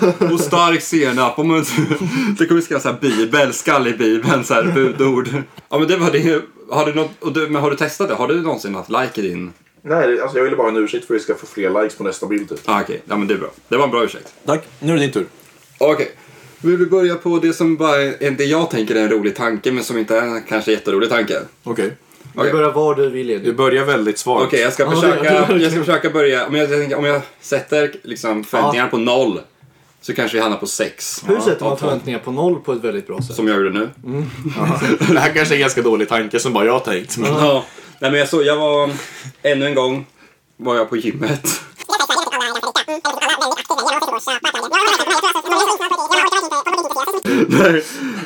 15.
Och stark senap. Om man, det kommer skriva så här bibel, skall i bibeln, så här budord. Ja men det var det. Har du, något, och du, men har du testat det? Har du någonsin haft like i din...
Nej, alltså jag ville bara ha en ursäkt för att vi ska få fler likes på nästa bild. Typ.
Ah, okej, ja men det är bra. Det var en bra ursäkt.
Tack, nu är det din tur.
Okej. Vill du börja på det som bara är, det jag tänker är en rolig tanke men som inte är en kanske jätterolig tanke?
Okej.
Du börjar var du vill
Du
Edvin.
börjar väldigt svagt.
Okej, jag ska
Ja,
försöka,
det-
jag ska försöka börja. Om jag, jag tänker- om jag sätter liksom förväntningarna på noll så kanske vi hamnar på sex.
Hur sätter man
av tolv.
förväntningar på noll på ett väldigt bra sätt?
Som jag gjorde nu.
Det här kanske är en ganska dålig tanke som bara jag har tänkt. Men...
Ja. Nej, men jag, såg, jag var, ännu en gång var jag på gymmet. Nej,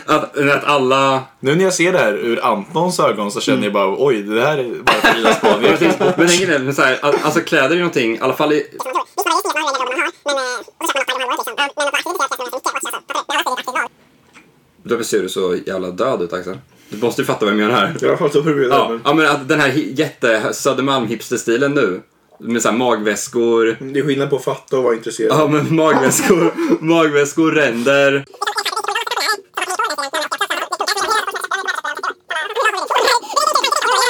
att, att alla...
Nu när jag ser det här ur Antons ögon så känner jag bara oj, det här är bara Fridas spaning.
Men tänk er det, så här, att- alltså kläder är någonting, i alla fall i... Därför ser du så jävla död ut Axel. Du måste ju fatta vad jag menar här.
jag fattar hur du
Ja, ja men att den här hi- jätte Södermalm hipsterstilen nu. Med så här magväskor.
Det är skillnad på att fatta och vara intresserad.
Ja men magväskor, magväskor, ränder.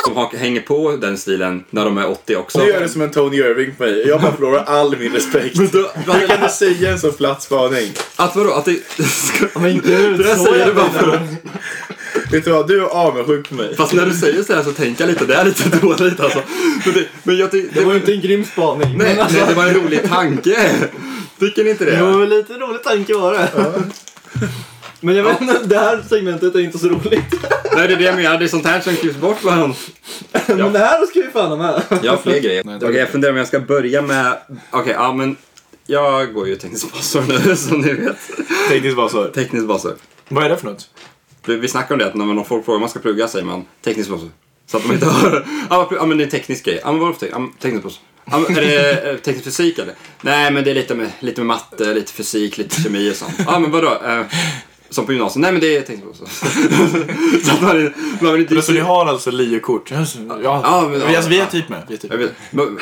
De har- hänger på den stilen när de är 80 också.
Du gör det som en Tony Irving för mig. Jag bara förlorar all min respekt.
Men då-
Hur kan du säga en så platt spaning?
Att vadå? Att det... Ska...
Men gud,
Det där
så
säger du
jävla-
bara för att...
Vet du vad, du är avundsjuk på mig.
Fast när du säger sådär så tänker jag lite, det är lite dåligt alltså. Men, det, men jag tycker...
Det var ju inte en grym
Nej,
spaning. men alltså,
nej, det var en rolig tanke. Tycker ni inte det?
det var väl lite rolig tanke var det. Men jag vet inte, det här segmentet är inte så roligt.
Nej, det är det jag menar. Det är sånt här som klipps bort ibland.
Men det här ska vi fan ha med.
Jag har fler grejer. Okej, jag funderar om jag ska börja med... Okej, ja men... Jag går ju teknisk basår nu som ni vet.
Tekniskt bara så.
Teknisk basår.
Vad är det för något?
Vi vi snackar om det att när man- när folk frågar om man ska plugga säger man teknisk basår. Så att de inte hör. Ja, vad pl- ja men det är teknisk grej. Ja men vad är det för teknisk? Ja, men teknisk basår. Ja, men är det eh, teknisk fysik eller? Nej men det är lite med, lite med matte, lite fysik, lite kemi och sånt. Ja men vadå? Eh, som på gymnasiet. Nej men det är teknisk basår. så att man, man vill inte...
Men så ni har alltså LIO-kort? Ja,
Ja,
ja,
men-
alltså, vi är typ med. Vi är typ.
Jag vet, men-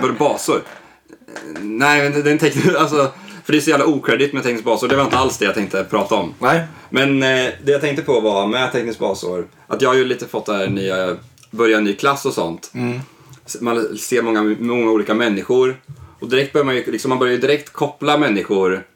var det basor? Nej, men det- det är en teknisk, alltså, för det är så jävla okredit med teknisk basår. Det var inte alls det jag tänkte prata om.
Nej.
Men eh, det jag tänkte på var med tekniskt basår, att jag har ju lite fått det här nya, börja en ny klass och sånt. Man ser många, många olika människor och direkt börjar man ju, liksom, man börjar ju direkt koppla människor.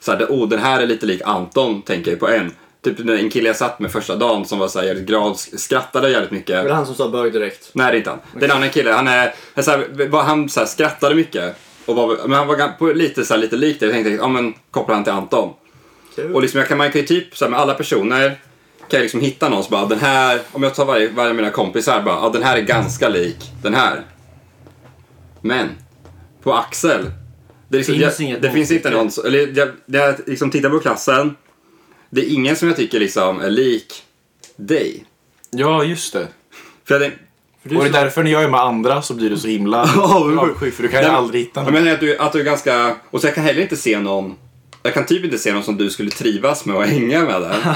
Så här, oh, den här är lite lik Anton, tänker jag på en. Typ en kille jag satt med första dagen som var så här, jävligt grav, skrattade jävligt mycket.
Det är han som sa bög direkt.
Nej, det är inte han. Det är en annan kille. Han, är, han, så här, bara- han så här, skrattade mycket. Och var, men han var gam- på lite, så här, lite lik det. Jag tänkte, ja men kopplar han till Anton.
Kul.
Och liksom, jag kan, man kan ju typ så här, med alla personer kan jag liksom hitta någon som bara, den här, om jag tar varje, varje av mina kompisar bara, ja den här är ganska lik den här. Men, på Axel. Det, är liksom,
Finns
jag,
inget
det finns inte
motstycke.
någon, så- eller jag, när jag liksom tittar på klassen, det är ingen som jag tycker liksom är lik dig.
Ja, just det.
För jag tänkte,
Och det är därför när jag är med andra så blir du så himla avundsjuk för du kan ju
Nej, men-
aldrig hitta
Jag
någon.
menar att du, att du är ganska... Och så jag kan heller inte se någon... Jag kan typ inte se någon som du skulle trivas med och hänga med där.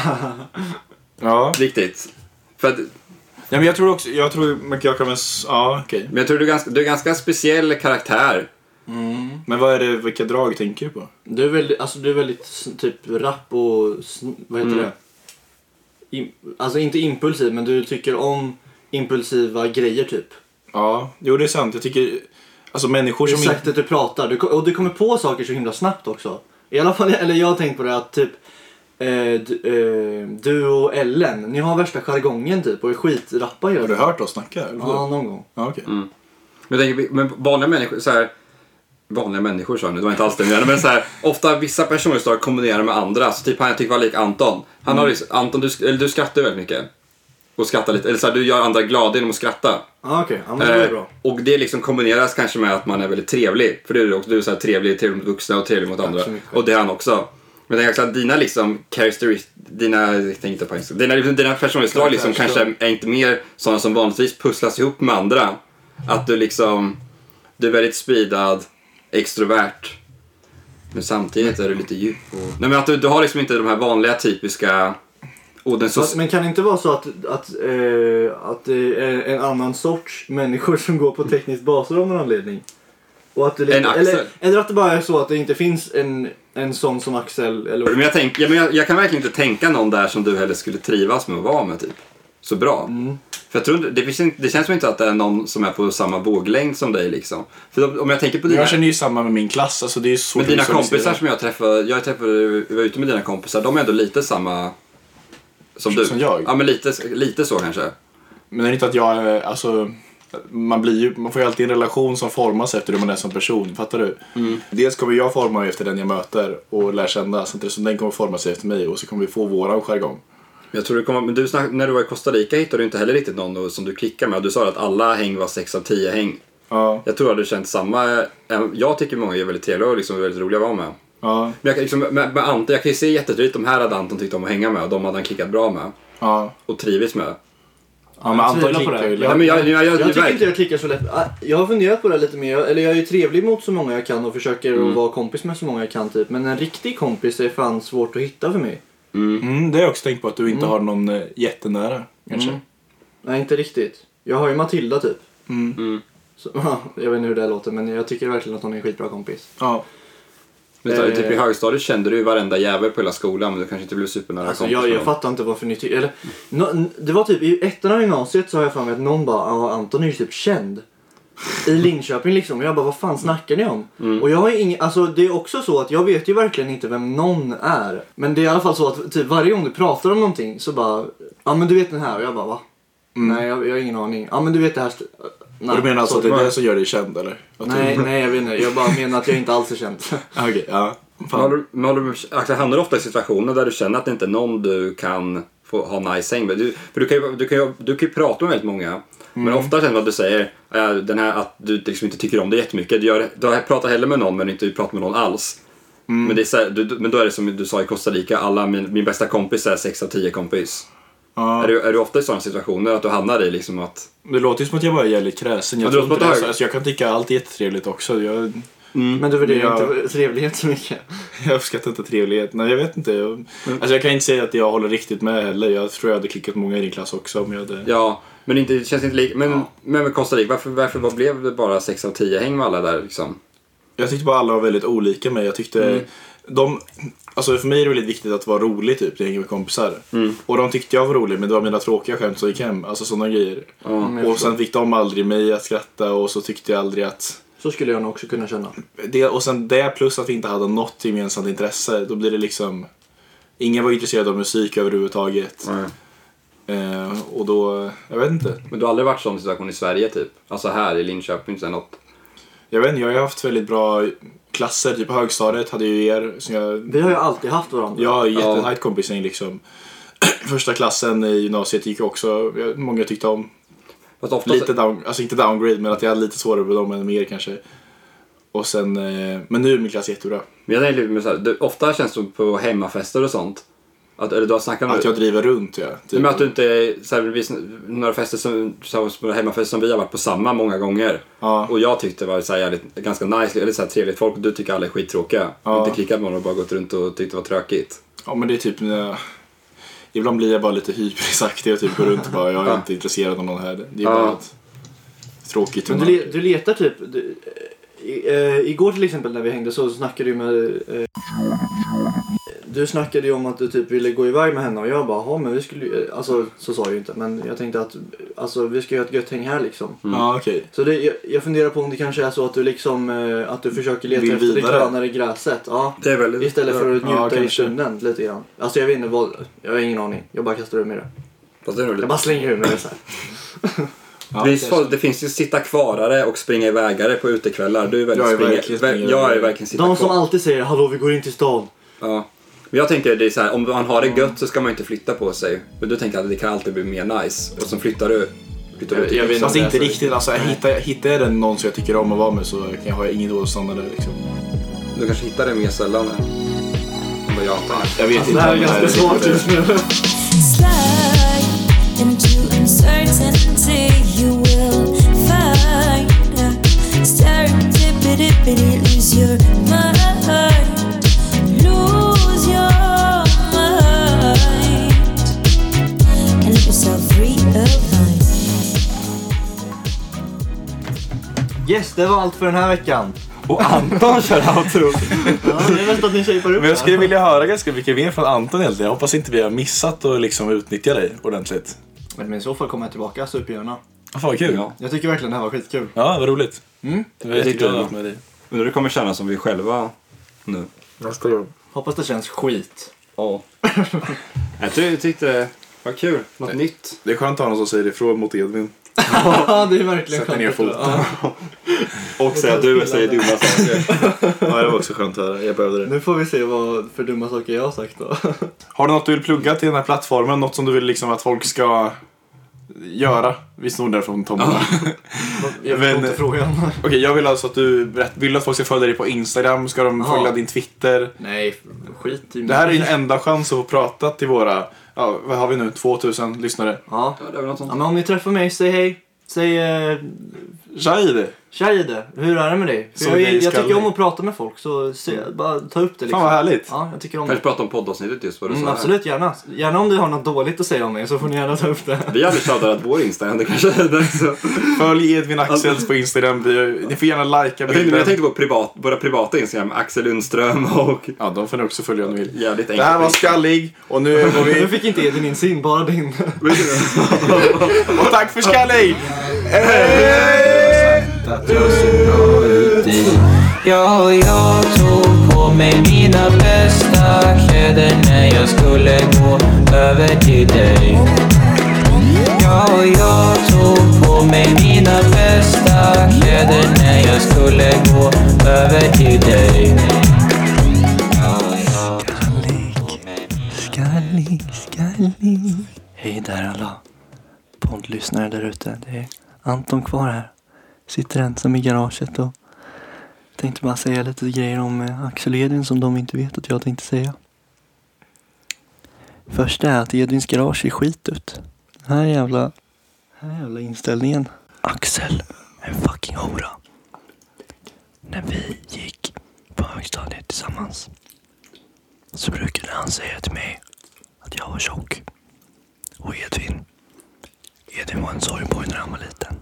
Ja.
Riktigt. För att,
ja, men jag tror också, jag tror, men jag kan väl, s- ja okej.
men jag tror du är ganska, du är ganska speciell karaktär.
Men vad är det, vilka drag tänker du på?
Du är väldigt, alltså, du är väldigt sn- typ rapp och sn- vad heter det? Im, alltså inte impulsiv men du tycker om impulsiva grejer typ.
Ja, jo det är sant. Jag tycker, alltså människor
Det är
som inte...
sättet du pratar du, ko- och du kommer på saker så himla snabbt också. I alla fall, eller jag har tänkt på det att typ eh, d, eh, du och Ellen, ni har värsta jargongen typ och är skitrappa
Har
gör
du hört oss snacka? Eller?
Ja, Mm. någon gång.
Ja, okej.
Men, jag tänker, men vanliga människor, så här, Vanliga människor sa jag nu, det var inte alls det jag menade. Men så här, ofta vissa personlighetsdrag kombinerar med andra. Så typ han jag tyckte var lik Anton. Han har liksom, Anton, du, sk- eller, du skrattar väldigt mycket. Och skrattar lite, eller så här, du gör andra glada genom att skratta.
Ah, Okej, ja, men det var ju
Eh,
bra.
Och det liksom kombineras kanske med att man är väldigt trevlig. För det är du också. Du är så här trevlig, trevlig mot vuxna och trevlig mot andra.
mycket.
Och det är han också. Men det är också att dina liksom characteristic, dina, jag tänkte inte på engelska. Dina, dina personlighetsdrag liksom kanske är inte mer sådana som vanligtvis pusslas ihop med andra. Att du liksom, du är väldigt speedad, extrovert. Men samtidigt är du lite djup och... Nej men att du, du har liksom inte de här vanliga typiska... Och den
Fast,
soci-
men kan det inte vara så att, att, eh, att det är en annan sorts människor som går på tekniskt basår av någon anledning? Och att det
En Axel.
Eller, eller att det bara är så att det inte finns en, en sån som Axel. Eller,
Men jag, tänk, ja, men jag, jag kan verkligen inte tänka någon där som du heller skulle trivas med att vara med typ. Så bra.
Mm.
För jag tror inte- det, finns inte, det känns som inte att det är någon som är på samma våglängd som dig liksom. För om- om jag tänker på dina,
Jag känner ju samma med min klass. Alltså, det är ju så
med dina
visualiserat.
kompisar som jag träffade, jag träffade, var ute med dina kompisar, de är ändå lite samma som du.
Som jag?
Ja men lite, lite så kanske.
Men det är inte att jag, eh, alltså, man, blir ju, man får ju alltid en relation som formas efter hur man är som person. Fattar du?
Mm.
Dels kommer jag forma mig efter den jag möter och lär känna samtidigt som den kommer forma sig efter mig och så kommer vi få våran jargong.
Men Jag tror du kommer, men du snack, när du var i Costa Rica hittade du inte heller riktigt någon som du klickar med. Du sa att alla häng var 6 av 10 häng.
Ja,
Jag tror jag hade känt samma, jag tycker många är väldigt trevliga och liksom väldigt roliga att vara med.
ja,
Men jag, kan liksom, med, med Anton, jag kan ju se jättetydligt, de här hade Anton tyckt om att hänga med och de hade han klickat bra med
ja.
och trivits med.
Ja, men Anton
tvivlar på
klickar
det.
ju
Nej, men jag, jag, jag,
jag tycker
verkligen-
inte jag klickar så lätt. Ah, Jag har funderat på det lite mer. Jag- Eller jag är ju trevlig mot så många jag kan och försöker
Mm.
att vara kompis med så många jag kan. Typ. Men en riktig kompis är fan svårt att hitta för mig.
Mm, det har jag också tänkt på, att du inte har någon eh, jättenära. Kanske.
Nej, inte riktigt. Jag har ju Matilda typ.
Mm.
Så, jag vet inte hur det här låter men jag tycker verkligen att hon är en skitbra kompis.
Ja.
men så, typ, I
eh,
högstadiet kände du ju varenda jävel på hela skolan men du kanske inte blev supernära
Alltså,
kompis
jag,
med
jag
dem.
fattar inte varför ni tycker... Eller, nå- n- det var typ i ettan av gymnasiet så har jag för mig att någon bara ja Anton är ju typ känd. I Linköping liksom. Och jag bara vad fan snackar ni om?
Mm.
Och jag har ju ingen, alltså det är också så att jag vet ju verkligen inte vem någon är. Men det är i alla fall så att typ varje gång du pratar om någonting så bara ja men du vet den här och jag bara va? Nej jag, jag har ingen aning. Ja men du vet det här. st- äh, Nej,
Mm. Och du menar alltså
så-
att det är det som gör dig känd eller? Att
Nej,
Du... Ah,
nej jag vet inte. Jag bara menar att jag inte alls är känd.
Okej, ja.
Men håller du- men håller du, alltså, hamnar du ofta i situationer där du känner att det inte är någon du kan få ha nice häng med? Du, för du kan, ju, du, kan ju, du kan ju prata med väldigt många. Men ofta känner man att du säger eh, den här, att du liksom inte tycker om det jättemycket. Du, gör, du har- pratar hellre med någon men inte pratar med någon alls. Men, det är så här, du, du- men då är det som du sa i Costa Rica, alla, min, min bästa kompis är 6 av 10 kompis. Är, du, är du ofta i sådana situationer att du hamnar i liksom att...
Det låter ju som att jag bara är jävligt kräsen.
Ja,
Jag,
det
tror inte
låter
det,
på
alltså,
hög.
alltså, jag kan tycka allt är jättetrevligt också. Jag, Mm.
Men du värderar
Men jag-
inte trevlighet så mycket.
jag uppskattar inte trevlighet. Nej, jag vet inte. Jag,
Mm.
alltså, jag kan inte säga att jag håller riktigt med heller. Jag tror jag hade klickat många i din klass också om jag hade...
Ja, men inte, det känns inte lika... Men, men med Costa Rica, varför, varför vad blev det bara 6 av 10 häng med alla där liksom?
Jag tyckte bara alla var väldigt olika mig. Jag tyckte
Mm.
de, alltså för mig är det väldigt viktigt att vara rolig typ när jag hänger med kompisar.
Mm.
Och de tyckte jag var rolig men det var mina tråkiga skämt som gick hem. Alltså sådana grejer. Och sen fick de aldrig mig att skratta och så tyckte jag aldrig att...
Så skulle jag nog också kunna känna.
Det, och sen det plus att vi inte hade något gemensamt intresse. Då blir det liksom... Ingen var intresserad av musik överhuvudtaget. Eh, och då, jag vet inte.
Men du har aldrig varit i sån situation i Sverige typ? Alltså här i Linköping eller något?
Jag vet inte, jag har ju haft väldigt bra klasser. Typ på högstadiet hade jag ju er som jag
Vi har ju alltid haft varandra.
Jag har ju
Ja.
jättetajt kompisgäng liksom. Första klassen i gymnasiet gick jag också, jag- många tyckte om.
Fast ofta
Lite down, alltså inte downgrade men att jag hade lite svårare med dem än med er kanske. Och sen, eh, men nu är min klass jättebra.
Men jag tänker lite så här, det, ofta känns det på hemmafester och sånt. Att, eller du har snackat om
Att jag driver runt ja.
Nej,
Typ.
men att du inte är- så här, vi, några fester som, som, som- hemmafester som vi har varit på samma många gånger.
Ja.
Och jag tyckte det var så här, jävligt, ganska nice, eller så här, trevligt folk. Och du tycker alla är skittråkiga.
Ja.
Inte klickat med någon och bara gått runt och tyckt det var tråkigt.
Ja men det är typ, när jag, ibland blir jag bara lite hyperisaktig och typ går runt och bara, jag är inte intresserad av någon här. Det är
Ja.
bara ett tråkigt
Men du,
humör.
le- du letar typ... Du, i, eh, igår till exempel när vi hängde så, så snackade du med... Eh, du snackade ju om att du typ ville gå iväg med henne och jag bara, "Jaha, men vi skulle ju-" Alltså så sa jag ju inte men jag tänkte att alltså, vi ska göra ett gött häng här liksom.
Ja okej.
Så det, jag, jag funderar på om det kanske är så att du liksom eh, att du försöker leta
Vill
efter
vidare.
det grönare gräset. Ja.
Det är väldigt...
Istället för att
Ja,
njuta i
kanske.
stunden lite grann. Alltså jag vet inte vad, jag har ingen aning. Jag bara kastar ur mig det.
Fast det är nog lite-
Jag bara slänger ur mig det så här.
Ja,
Visst,
kanske.
folk- det finns ju sitta kvarare och springa ivägare på utekvällar. Du är väldigt
Jag är
springa,
verkligen
vä-
springa
jag är
ivägare.
verkligen sitta
De som
kvar.
alltid säger hallå vi går in till stan.
Ja. Men jag tänker det är så här, om man har det gött så ska man inte flytta på sig. Men du tänker jag att det kan alltid bli mer nice. Och sen flyttar du. Flyttar du till
jag vet
Fast
om det
inte
är så.
riktigt, alltså hittar jag, hittar jag den någon som jag tycker om att vara med så kan jag ha ingen dålig standard där liksom.
Du kanske hittar det mer sällan än vad jag tänker.
Jag vet inte.
Det här är
om
ganska svårt just nu.
Slide into uncertainty. You will find out. Serendipity, lose your mind. Lose your mind. And let yourself realign.
Yes, det var allt för den här veckan.
Och Anton kör outro.
Ja, det är nästan att ni shapar upp
Men jag skulle vilja höra ganska mycket mer från Anton egentligen. Jag hoppas inte vi har missat att liksom utnyttja dig ordentligt.
Men i så fall kommer jag tillbaka supergärna.
Ah, Fan vad kul. Ja,
Ja.
Jag tycker verkligen det här var skitkul.
vad roligt. Det var
Jag tyckte
jättekul
det
att
var.
med dig.
Undrar hur det kommer kännas som vi själva nu.
Hoppas det känns skit.
Ja. jag ty- tyckte det var kul. Något nytt.
Det är skönt att ha någon som säger ifrån mot Edvin.
Ja, det är verkligen
Sätter ner
skönt.
foten.
Och säga att du säger dumma saker.
Ja, det var också skönt att höra. Jag behövde det.
Nu får vi se vad för dumma saker jag har sagt då.
Har du något du vill plugga till den här plattformen? Något som du vill liksom att folk ska göra? Vi snor det från Tommy.
Jag
Men-
förstår inte frågan.
Okej, jag vill alltså att du berätt, vill du att folk ska följa dig på Instagram? Ska de
Ja.
följa din Twitter?
Nej, skit i
Det här är din enda chans att få prata till våra, ja, vad har vi nu, 2000 lyssnare.
Ja.
Ja, det var något sånt.
ja, men om ni träffar mig, säg hej. Säg, eh,
Shahid!
tja Ide, hur är det med dig? För
Så
jag,
nej,
jag
skall
tycker om
ni.
att prata med folk, så se, bara ta upp det liksom.
Fan vad härligt!
Ja, jag tycker om det.
Kanske prata om poddavsnittet just vad du
Mm,
sa. här.
absolut, gärna. Gärna om du har något dåligt att säga om mig så får ni gärna ta upp det.
Vi hade shoutat vår Instagram, det kanske är dags så.
Följ Edvin Axels på Instagram. Vi- Ni får gärna likea
Jag tänkte, jag
bilden.
tänkte på privat, våra privata Instagram, Axel Lundström och
Ja, de får ni också följa om ni vill.
jävligt enkelt.
Det här var Skallig och nu går vi...
Nu fick inte Edvin in sin, bara din.
Och tack för Skallig!
Ja, jag tog på mig mina bästa kläder när jag skulle gå över till dig. Ja, jag tog på mig mina bästa kläder när jag skulle gå över till dig.
poddlyssnare där ute. Det är Anton kvar här. Sitter ensam i garaget och tänkte bara säga lite grejer om eh, Axel och Edvin som de inte vet att jag tänkte säga. Första är att Edvins garage ser skit ut. Den här jävla, den här jävla inställningen. Axel, en fucking hora. När vi gick på högstadiet tillsammans så brukade han säga till mig att jag var tjock. Och Edvin. Edvin var en sorgboy när han var liten.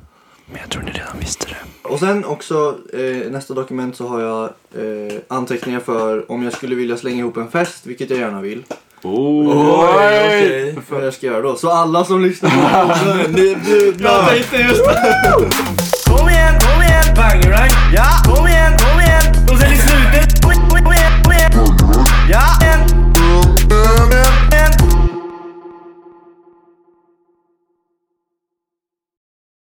Men jag tror ni redan visste det.
Och sen också eh, nästa dokument så har jag eh, anteckningar för om jag skulle vilja slänga ihop en fest, vilket jag gärna vill. Oj! Vad jag ska göra då. Så alla som lyssnar. på podden, ni, du, jag tänkte just det.